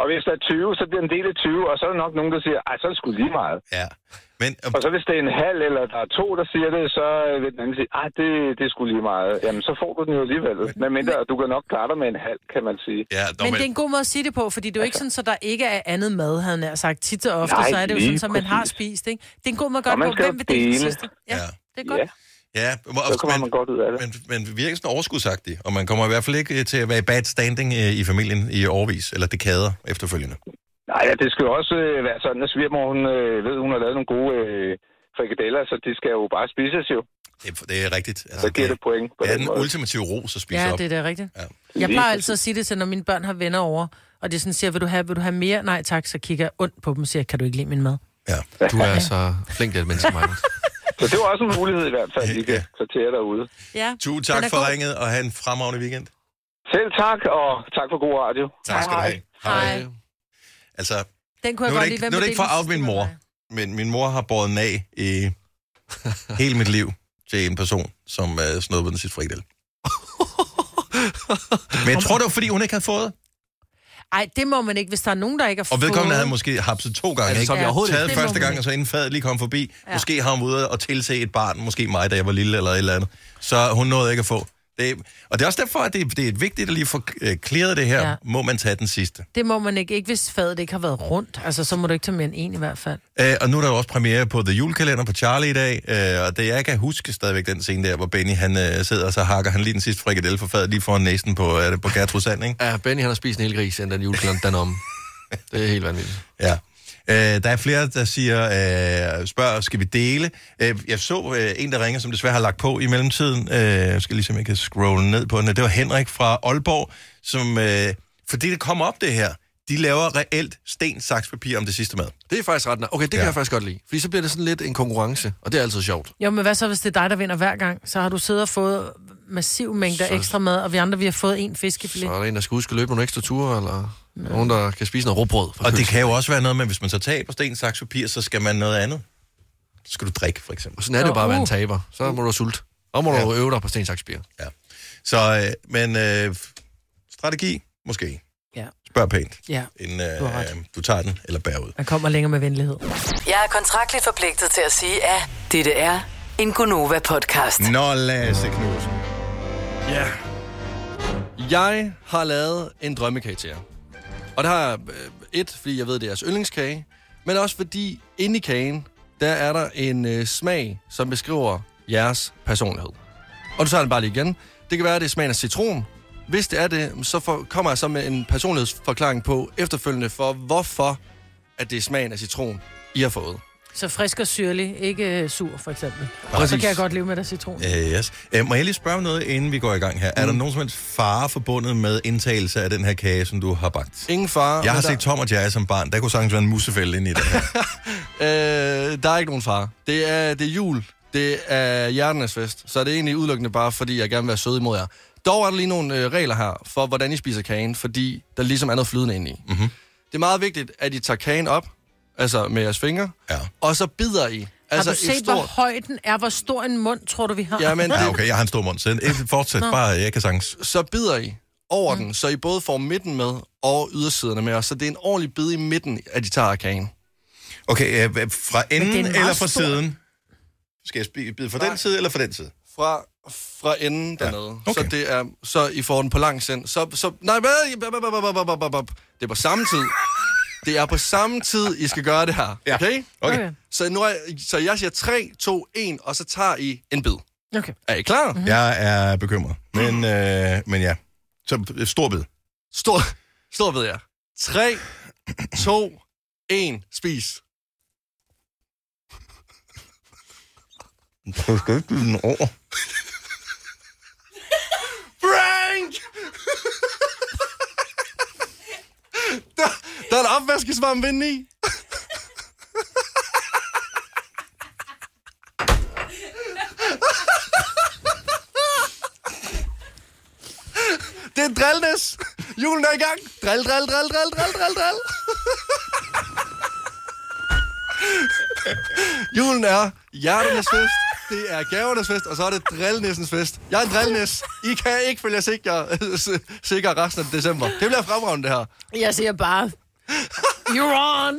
[SPEAKER 19] Og hvis der er 20, så bliver den delt i 20, og så er der nok nogen, der siger, ej, så er det sgu lige meget.
[SPEAKER 1] Ja. Men,
[SPEAKER 19] og så hvis det er en halv, eller der er to, der siger det, så øh, vil den anden sige, ej, det, det er sgu lige meget. Jamen, så får du den jo alligevel. Men mindre, du kan nok klare dig med en halv, kan man sige.
[SPEAKER 1] Ja,
[SPEAKER 2] Men det er en god måde at sige det på, fordi det er jo ikke sådan, så der ikke er andet mad, havde jeg nær sagt. Tit og ofte,
[SPEAKER 19] Nej,
[SPEAKER 2] så er det jo
[SPEAKER 19] lige
[SPEAKER 2] sådan, som man har
[SPEAKER 19] præcis.
[SPEAKER 2] spist, ikke? Det er en god måde at
[SPEAKER 1] Og
[SPEAKER 2] gøre
[SPEAKER 1] man
[SPEAKER 2] det på,
[SPEAKER 1] skal
[SPEAKER 2] hvem vil dele det
[SPEAKER 1] dele.
[SPEAKER 2] sidste. Ja,
[SPEAKER 1] Ja.
[SPEAKER 2] det er godt.
[SPEAKER 1] Ja, så kommer man
[SPEAKER 19] godt ud af det.
[SPEAKER 1] Men, men virker sådan overskudsagtig, og man kommer i hvert fald ikke øh, til at være i bad standing øh, i familien i årvis, eller det kader efterfølgende.
[SPEAKER 19] Nej, ja, det skal jo også øh, være sådan, at svigermor, hun øh, ved, hun har lavet nogle gode øh, frikadeller, så de skal jo bare spises jo.
[SPEAKER 1] Det, det er rigtigt. Altså,
[SPEAKER 19] Så giver det point på
[SPEAKER 1] Det er
[SPEAKER 19] den
[SPEAKER 1] den
[SPEAKER 19] måde.
[SPEAKER 1] ultimative ros at spise
[SPEAKER 2] Ja,
[SPEAKER 1] op.
[SPEAKER 2] det er da rigtigt.
[SPEAKER 1] Ja.
[SPEAKER 2] Jeg plejer altid at sige det til, når mine børn har venner over, og det sådan siger, vil du have, vil du have mere? Nej tak, så kigger jeg ondt på dem og siger, kan du ikke lide min mad?
[SPEAKER 3] Ja. Du er så flink det menneske, Maja.
[SPEAKER 19] Så det var også en mulighed i hvert fald, I kan sortere derude.
[SPEAKER 2] Ja.
[SPEAKER 1] Tue, tak for god. ringet, og have en fremragende weekend.
[SPEAKER 19] Selv tak, og tak for god radio.
[SPEAKER 1] Tak skal du have.
[SPEAKER 2] Hej.
[SPEAKER 1] Altså,
[SPEAKER 2] Den kunne jeg
[SPEAKER 1] nu er det
[SPEAKER 2] godt lide.
[SPEAKER 1] ikke,
[SPEAKER 2] Hvem
[SPEAKER 1] nu er det
[SPEAKER 2] vil
[SPEAKER 1] ikke for at
[SPEAKER 2] dele
[SPEAKER 1] out min mor, men min mor har båret den af i hele mit liv til en person, som uh, snuppede den sit frikadel. men jeg tror, det var, fordi hun ikke havde fået,
[SPEAKER 2] Ej, det må man ikke, hvis der er nogen, der ikke har
[SPEAKER 1] og vedkommende
[SPEAKER 2] fået-
[SPEAKER 1] havde måske hapset to gange,
[SPEAKER 2] Altså,
[SPEAKER 1] ikke?
[SPEAKER 2] så vi overhovedet
[SPEAKER 1] taget
[SPEAKER 2] ikke- Det må
[SPEAKER 1] første
[SPEAKER 2] man
[SPEAKER 1] gang,
[SPEAKER 2] ikke.
[SPEAKER 1] og så inden fadet lige kom forbi.
[SPEAKER 2] Ja.
[SPEAKER 1] Ja. Måske har hun været ude og tilse et barn, måske mig, da jeg var lille eller et eller andet. Så hun nåede ikke at få. Det, og det er også derfor, at det, det er vigtigt at lige få øh, clearet det her.
[SPEAKER 2] Ja.
[SPEAKER 1] Ja. Må man tage den sidste?
[SPEAKER 2] Det må man ikke, ikke hvis fadet ikke har været rundt. Altså, så må du ikke tage mere end en i hvert fald.
[SPEAKER 1] Øh, og nu er der jo også premiere på The Julekalender på Charlie i dag, øh, og det jeg kan huske stadigvæk den scene der, hvor Benny han øh, sidder og så hakker han lige den sidste frikadelle for fadet lige foran næsen på, er det på Gertrud Sand, ikke?
[SPEAKER 3] Ja, Benny han har spist en hel gris, inden den julekalender den er om. Det er helt vanvittigt.
[SPEAKER 1] Ja. Øh, der er flere, der siger, øh, spørger, skal vi dele? Øh, jeg så øh, en, der ringer, som desværre har lagt på i mellemtiden. Øh, jeg skal ligesom ikke scrolle ned på den. Det var Henrik fra Aalborg, som, øh, fordi det kom op det her, de laver reelt sten, saks, papir om det sidste mad.
[SPEAKER 3] Det er faktisk ret nej. Okay, det ja. kan jeg faktisk godt lide. Fordi så bliver det sådan lidt en konkurrence, og det er altid sjovt.
[SPEAKER 2] Jo, men hvad så, hvis det er dig, der vinder hver gang? Så har du siddet og fået massiv mængder
[SPEAKER 3] Så-
[SPEAKER 2] ekstra mad, og vi andre, vi har fået en fiskefilet.
[SPEAKER 3] Så er der en, der skal huske at løbe nogle ekstra ture, eller nogen, der kan spise noget råbrød.
[SPEAKER 1] Og det kan jo også være noget med, hvis man så taber sten, saks, papir, så skal man noget andet. Så skal du drikke, for eksempel.
[SPEAKER 3] Sådan er det jo bare at være en taber. Så må du sulte. Og må du øve dig på sten, saks, papir.
[SPEAKER 1] Ja. Så, øh, men øh, strategi, måske.
[SPEAKER 2] Ja.
[SPEAKER 1] Spørg pænt,
[SPEAKER 2] Ja,
[SPEAKER 1] inden
[SPEAKER 2] du har
[SPEAKER 1] øh,
[SPEAKER 2] ret.
[SPEAKER 1] du tager den eller bærer ud.
[SPEAKER 2] Man kommer længere med venlighed.
[SPEAKER 4] Jeg er kontraktligt forpligtet til at sige, at dette er en Gunova-podcast.
[SPEAKER 1] Nå, Lasse Knudsen.
[SPEAKER 3] Ja. Jeg har lavet en drømmekage til jer. Og det har jeg, øh, et, fordi jeg ved, det er jeres yndlingskage, men også fordi inde i kagen, der er der en øh, smag, som beskriver jeres personlighed. Og du tager den bare lige igen. Det kan være, at det er smagen af citron. Hvis det er det, så for, kommer jeg så med en personlighedsforklaring på efterfølgende for, hvorfor at det er smagen af citron, I har fået.
[SPEAKER 2] Så frisk og syrlig, ikke øh, sur, for eksempel.
[SPEAKER 1] Præcis.
[SPEAKER 2] Så kan jeg godt leve med der citron.
[SPEAKER 1] Øh, yes. Øh, må jeg lige spørge om noget, inden vi går i gang her? Mm. Er der nogen som helst fare forbundet med indtagelse af den her kage, som du har bagt?
[SPEAKER 3] Ingen fare.
[SPEAKER 1] Jeg har
[SPEAKER 3] men
[SPEAKER 1] set Tom og Jerry som barn. Der kunne sagtens være en musefælde inde i det her.
[SPEAKER 3] Øh, der er ikke nogen far. Det er, det er jul. Det er hjertenes fest. Så det er egentlig udelukkende bare, fordi jeg gerne vil være sød imod jer. Dog er der lige nogle øh, regler her for, hvordan I spiser kagen, fordi der ligesom er noget flydende inde i.
[SPEAKER 1] Mm-hmm.
[SPEAKER 3] Det er meget vigtigt, at I tager kagen op, altså med jeres fingre,
[SPEAKER 1] ja.
[SPEAKER 3] og så bider I.
[SPEAKER 2] Altså,
[SPEAKER 3] Altså
[SPEAKER 2] har du set,
[SPEAKER 3] et
[SPEAKER 2] stort... hvor
[SPEAKER 3] stort...
[SPEAKER 2] højden er? Hvor stor en mund, tror du, vi har?
[SPEAKER 3] Jamen,
[SPEAKER 1] ja,
[SPEAKER 3] det-
[SPEAKER 1] okay, jeg har en stor mund. Så ikke fortsæt
[SPEAKER 2] Nå.
[SPEAKER 1] bare, jeg kan sagtens.
[SPEAKER 3] Så bider I, over mm. den, så I både får midten med og ydersiderne med, og så det er en ordentlig bid i midten, at I tager af kagen.
[SPEAKER 1] Okay, øh, fra
[SPEAKER 3] enden
[SPEAKER 1] eller fra siden? Skal jeg spi- bide fra den side eller fra den side?
[SPEAKER 3] Fra, fra enden dernede. Ja. Okay. Så, det er, så I får den på lang sind. Så, så, nej, hvad? Bop, bop, bop, bop, bop, bop, bop. det er på samme tid. Det er på samme tid, I skal gøre det her. Okay?
[SPEAKER 2] Okay.
[SPEAKER 3] Så, nu er, så jeg siger 3, 2, 1, og så tager I en bid.
[SPEAKER 2] Okay.
[SPEAKER 3] Er I klar?
[SPEAKER 1] Mm-hmm. Jeg er bekymret, men, øh, men ja. Så øh, stor bid.
[SPEAKER 3] Stor, stor ved jeg. 3, 2, 1, spis.
[SPEAKER 1] Du skal ikke bide den over.
[SPEAKER 3] Frank! der, der er en opvaskesvarm vinde i. Det er en drillnæs. Julen er i gang. Drill, drill, drill, drill, drill, drill, drill. Julen er hjerternes fest. Det er gavernes fest, og så er det drillnæssens fest. Jeg er en drillnæs. I kan ikke følge jer sikker, sikker resten af december. Det bliver fremragende, det her.
[SPEAKER 2] Jeg siger bare, you're on.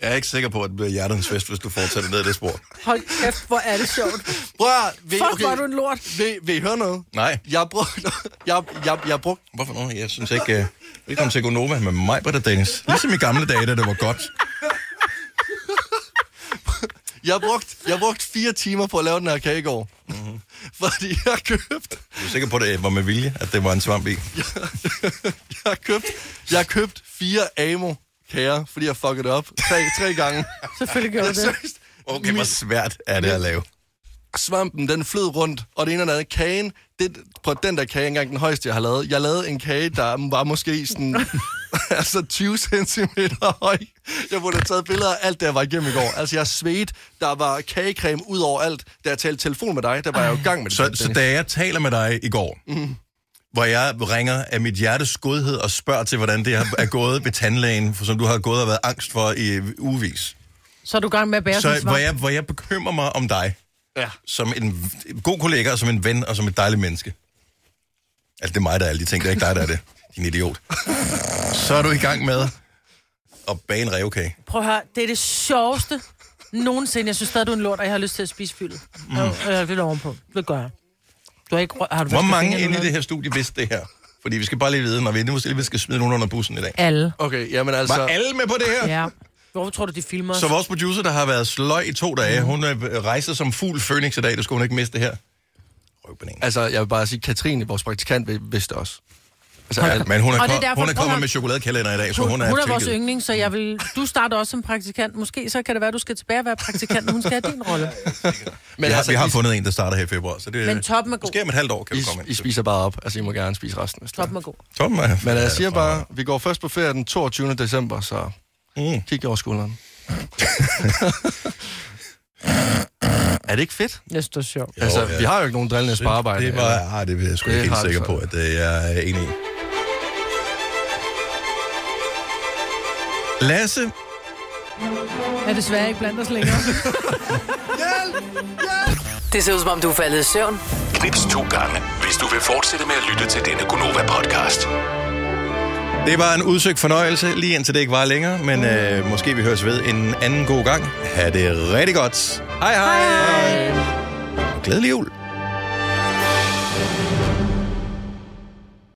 [SPEAKER 1] Jeg er ikke sikker på, at det bliver hjertens fest, hvis du fortsætter ned ad det spor.
[SPEAKER 2] Hold kæft, hvor er det sjovt.
[SPEAKER 3] Prøv at, vil,
[SPEAKER 2] Fuck, hvor er du en lort.
[SPEAKER 3] Vil, vil I høre noget?
[SPEAKER 1] Nej.
[SPEAKER 3] Jeg brugte... Jeg, jeg, jeg brugte...
[SPEAKER 1] Hvorfor noget? Jeg synes ikke... Uh... Velkommen til Gonova med mig, Britta Dennis. Ligesom i gamle dage, da det var godt.
[SPEAKER 3] Jeg brugte, jeg brugte fire timer på at lave den her kage i går. Mm-hmm. Fordi jeg købte,
[SPEAKER 1] Du er sikker på, at det var med vilje, at det var en svamp i.
[SPEAKER 3] jeg købte, jeg købte fire Amo kager, fordi jeg fuckede det op tre, tre gange.
[SPEAKER 2] Selvfølgelig gjorde du det.
[SPEAKER 3] Seriøst.
[SPEAKER 1] Okay, hvor svært er det at lave?
[SPEAKER 3] Svampen, den flød rundt, og det ene og det andet. Kagen, det, på den der kage, er engang den højeste, jeg har lavet. Jeg lavede en kage, der var måske sådan... altså 20 cm høj. Jeg burde have taget billeder af alt, det jeg var igennem i går. Altså, jeg svedte. Der var kagecreme ud over alt. Da jeg talte telefon med dig, der var jeg jo i gang med det.
[SPEAKER 1] Så, så da jeg taler med dig i går,
[SPEAKER 3] Mhm.
[SPEAKER 1] hvor jeg ringer af mit hjertes godhed og spørger til, hvordan det er- er gået ved tandlægen, for som du har gået og været angst for i ugevis.
[SPEAKER 2] Så er du i gang med at bære
[SPEAKER 1] Så
[SPEAKER 2] sådan
[SPEAKER 1] hvor jeg, hvor jeg bekymrer mig om dig,
[SPEAKER 3] ja.
[SPEAKER 1] som en v- god kollega, og som en ven, og som et dejligt menneske. Altså, det er mig, der er alle de ting, det er ikke dig, der er det. Din idiot. Så er du i gang med at bage en revkage.
[SPEAKER 2] Prøv at høre, det er det sjoveste nogensinde. Jeg synes stadig, du er en lort, og jeg har lyst til at spise fyldet. Mm.
[SPEAKER 1] Mm.
[SPEAKER 2] Jeg, jeg vil ovenpå. Det gør jeg. Du har ikke rø- har du
[SPEAKER 1] Hvor
[SPEAKER 2] vasket
[SPEAKER 1] mange
[SPEAKER 2] fingrene
[SPEAKER 1] inde i
[SPEAKER 2] noget?
[SPEAKER 1] det her studie vidste det her? Fordi vi skal bare lige vide, når vi endelig måske lige skal smide nogen under bussen i dag.
[SPEAKER 2] Alle.
[SPEAKER 3] Okay, jamen altså...
[SPEAKER 1] Var alle med på det her?
[SPEAKER 2] Ja. Hvorfor tror du, de filmer os?
[SPEAKER 1] Så vores producer, der har været sløj i to dage, hun øh, rejser som fugl Phoenix i dag, det skulle hun ikke miste det her.
[SPEAKER 3] Altså, jeg vil bare sige, Katrine, vores praktikant, vi- vidste det også. Altså,
[SPEAKER 1] Hold da- Men hun er
[SPEAKER 2] øh, Og det er
[SPEAKER 1] kom-
[SPEAKER 2] derfor-
[SPEAKER 1] hun er
[SPEAKER 2] prøv
[SPEAKER 1] kommet
[SPEAKER 2] at-
[SPEAKER 1] med chokoladekalender i dag, så
[SPEAKER 2] hun,
[SPEAKER 1] hun er
[SPEAKER 2] hun er vores
[SPEAKER 1] tjekket.
[SPEAKER 2] yndling, så jeg vil, du starter også som praktikant. Måske så kan det være, du skal tilbage og være praktikant, og hun skal have din rolle.
[SPEAKER 1] Men vi, har, altså, vi har fundet en, der starter her i februar, så det
[SPEAKER 2] Men toppen er god.
[SPEAKER 1] Måske om et halvt år kan
[SPEAKER 3] I,
[SPEAKER 1] du komme ind.
[SPEAKER 3] I spiser bare op. Altså, I må gerne spise resten. hvis det
[SPEAKER 2] Toppen er god.
[SPEAKER 3] er.
[SPEAKER 1] Toppen er...
[SPEAKER 3] Men jeg siger bare, vi går først på ferie den 22. december, så
[SPEAKER 1] mm.
[SPEAKER 3] kig over skulderen. er det ikke fedt?
[SPEAKER 2] Jeg synes, det er sjovt.
[SPEAKER 3] Altså,
[SPEAKER 1] Jo, ja.
[SPEAKER 3] vi har jo ikke nogen drillende
[SPEAKER 1] Det-
[SPEAKER 3] sparearbejde.
[SPEAKER 1] Det var, ah, det er jeg sgu
[SPEAKER 3] Det
[SPEAKER 1] ikke helt
[SPEAKER 3] har vi
[SPEAKER 1] sikker
[SPEAKER 3] så.
[SPEAKER 1] på, at øh, jeg er enig i. Lasse,
[SPEAKER 2] Er desværre ikke blandt os længere.
[SPEAKER 4] Det ser ud som om, du er faldet i søvn.
[SPEAKER 15] Knips to gange, hvis du vil fortsætte med at lytte til denne Gonova-podcast.
[SPEAKER 1] det var en udsøgt fornøjelse, lige indtil det ikke var længere, men øh, måske vi høres ved en anden god gang. Ha' det rigtig godt. Hej hej. hej. Glædelig jul.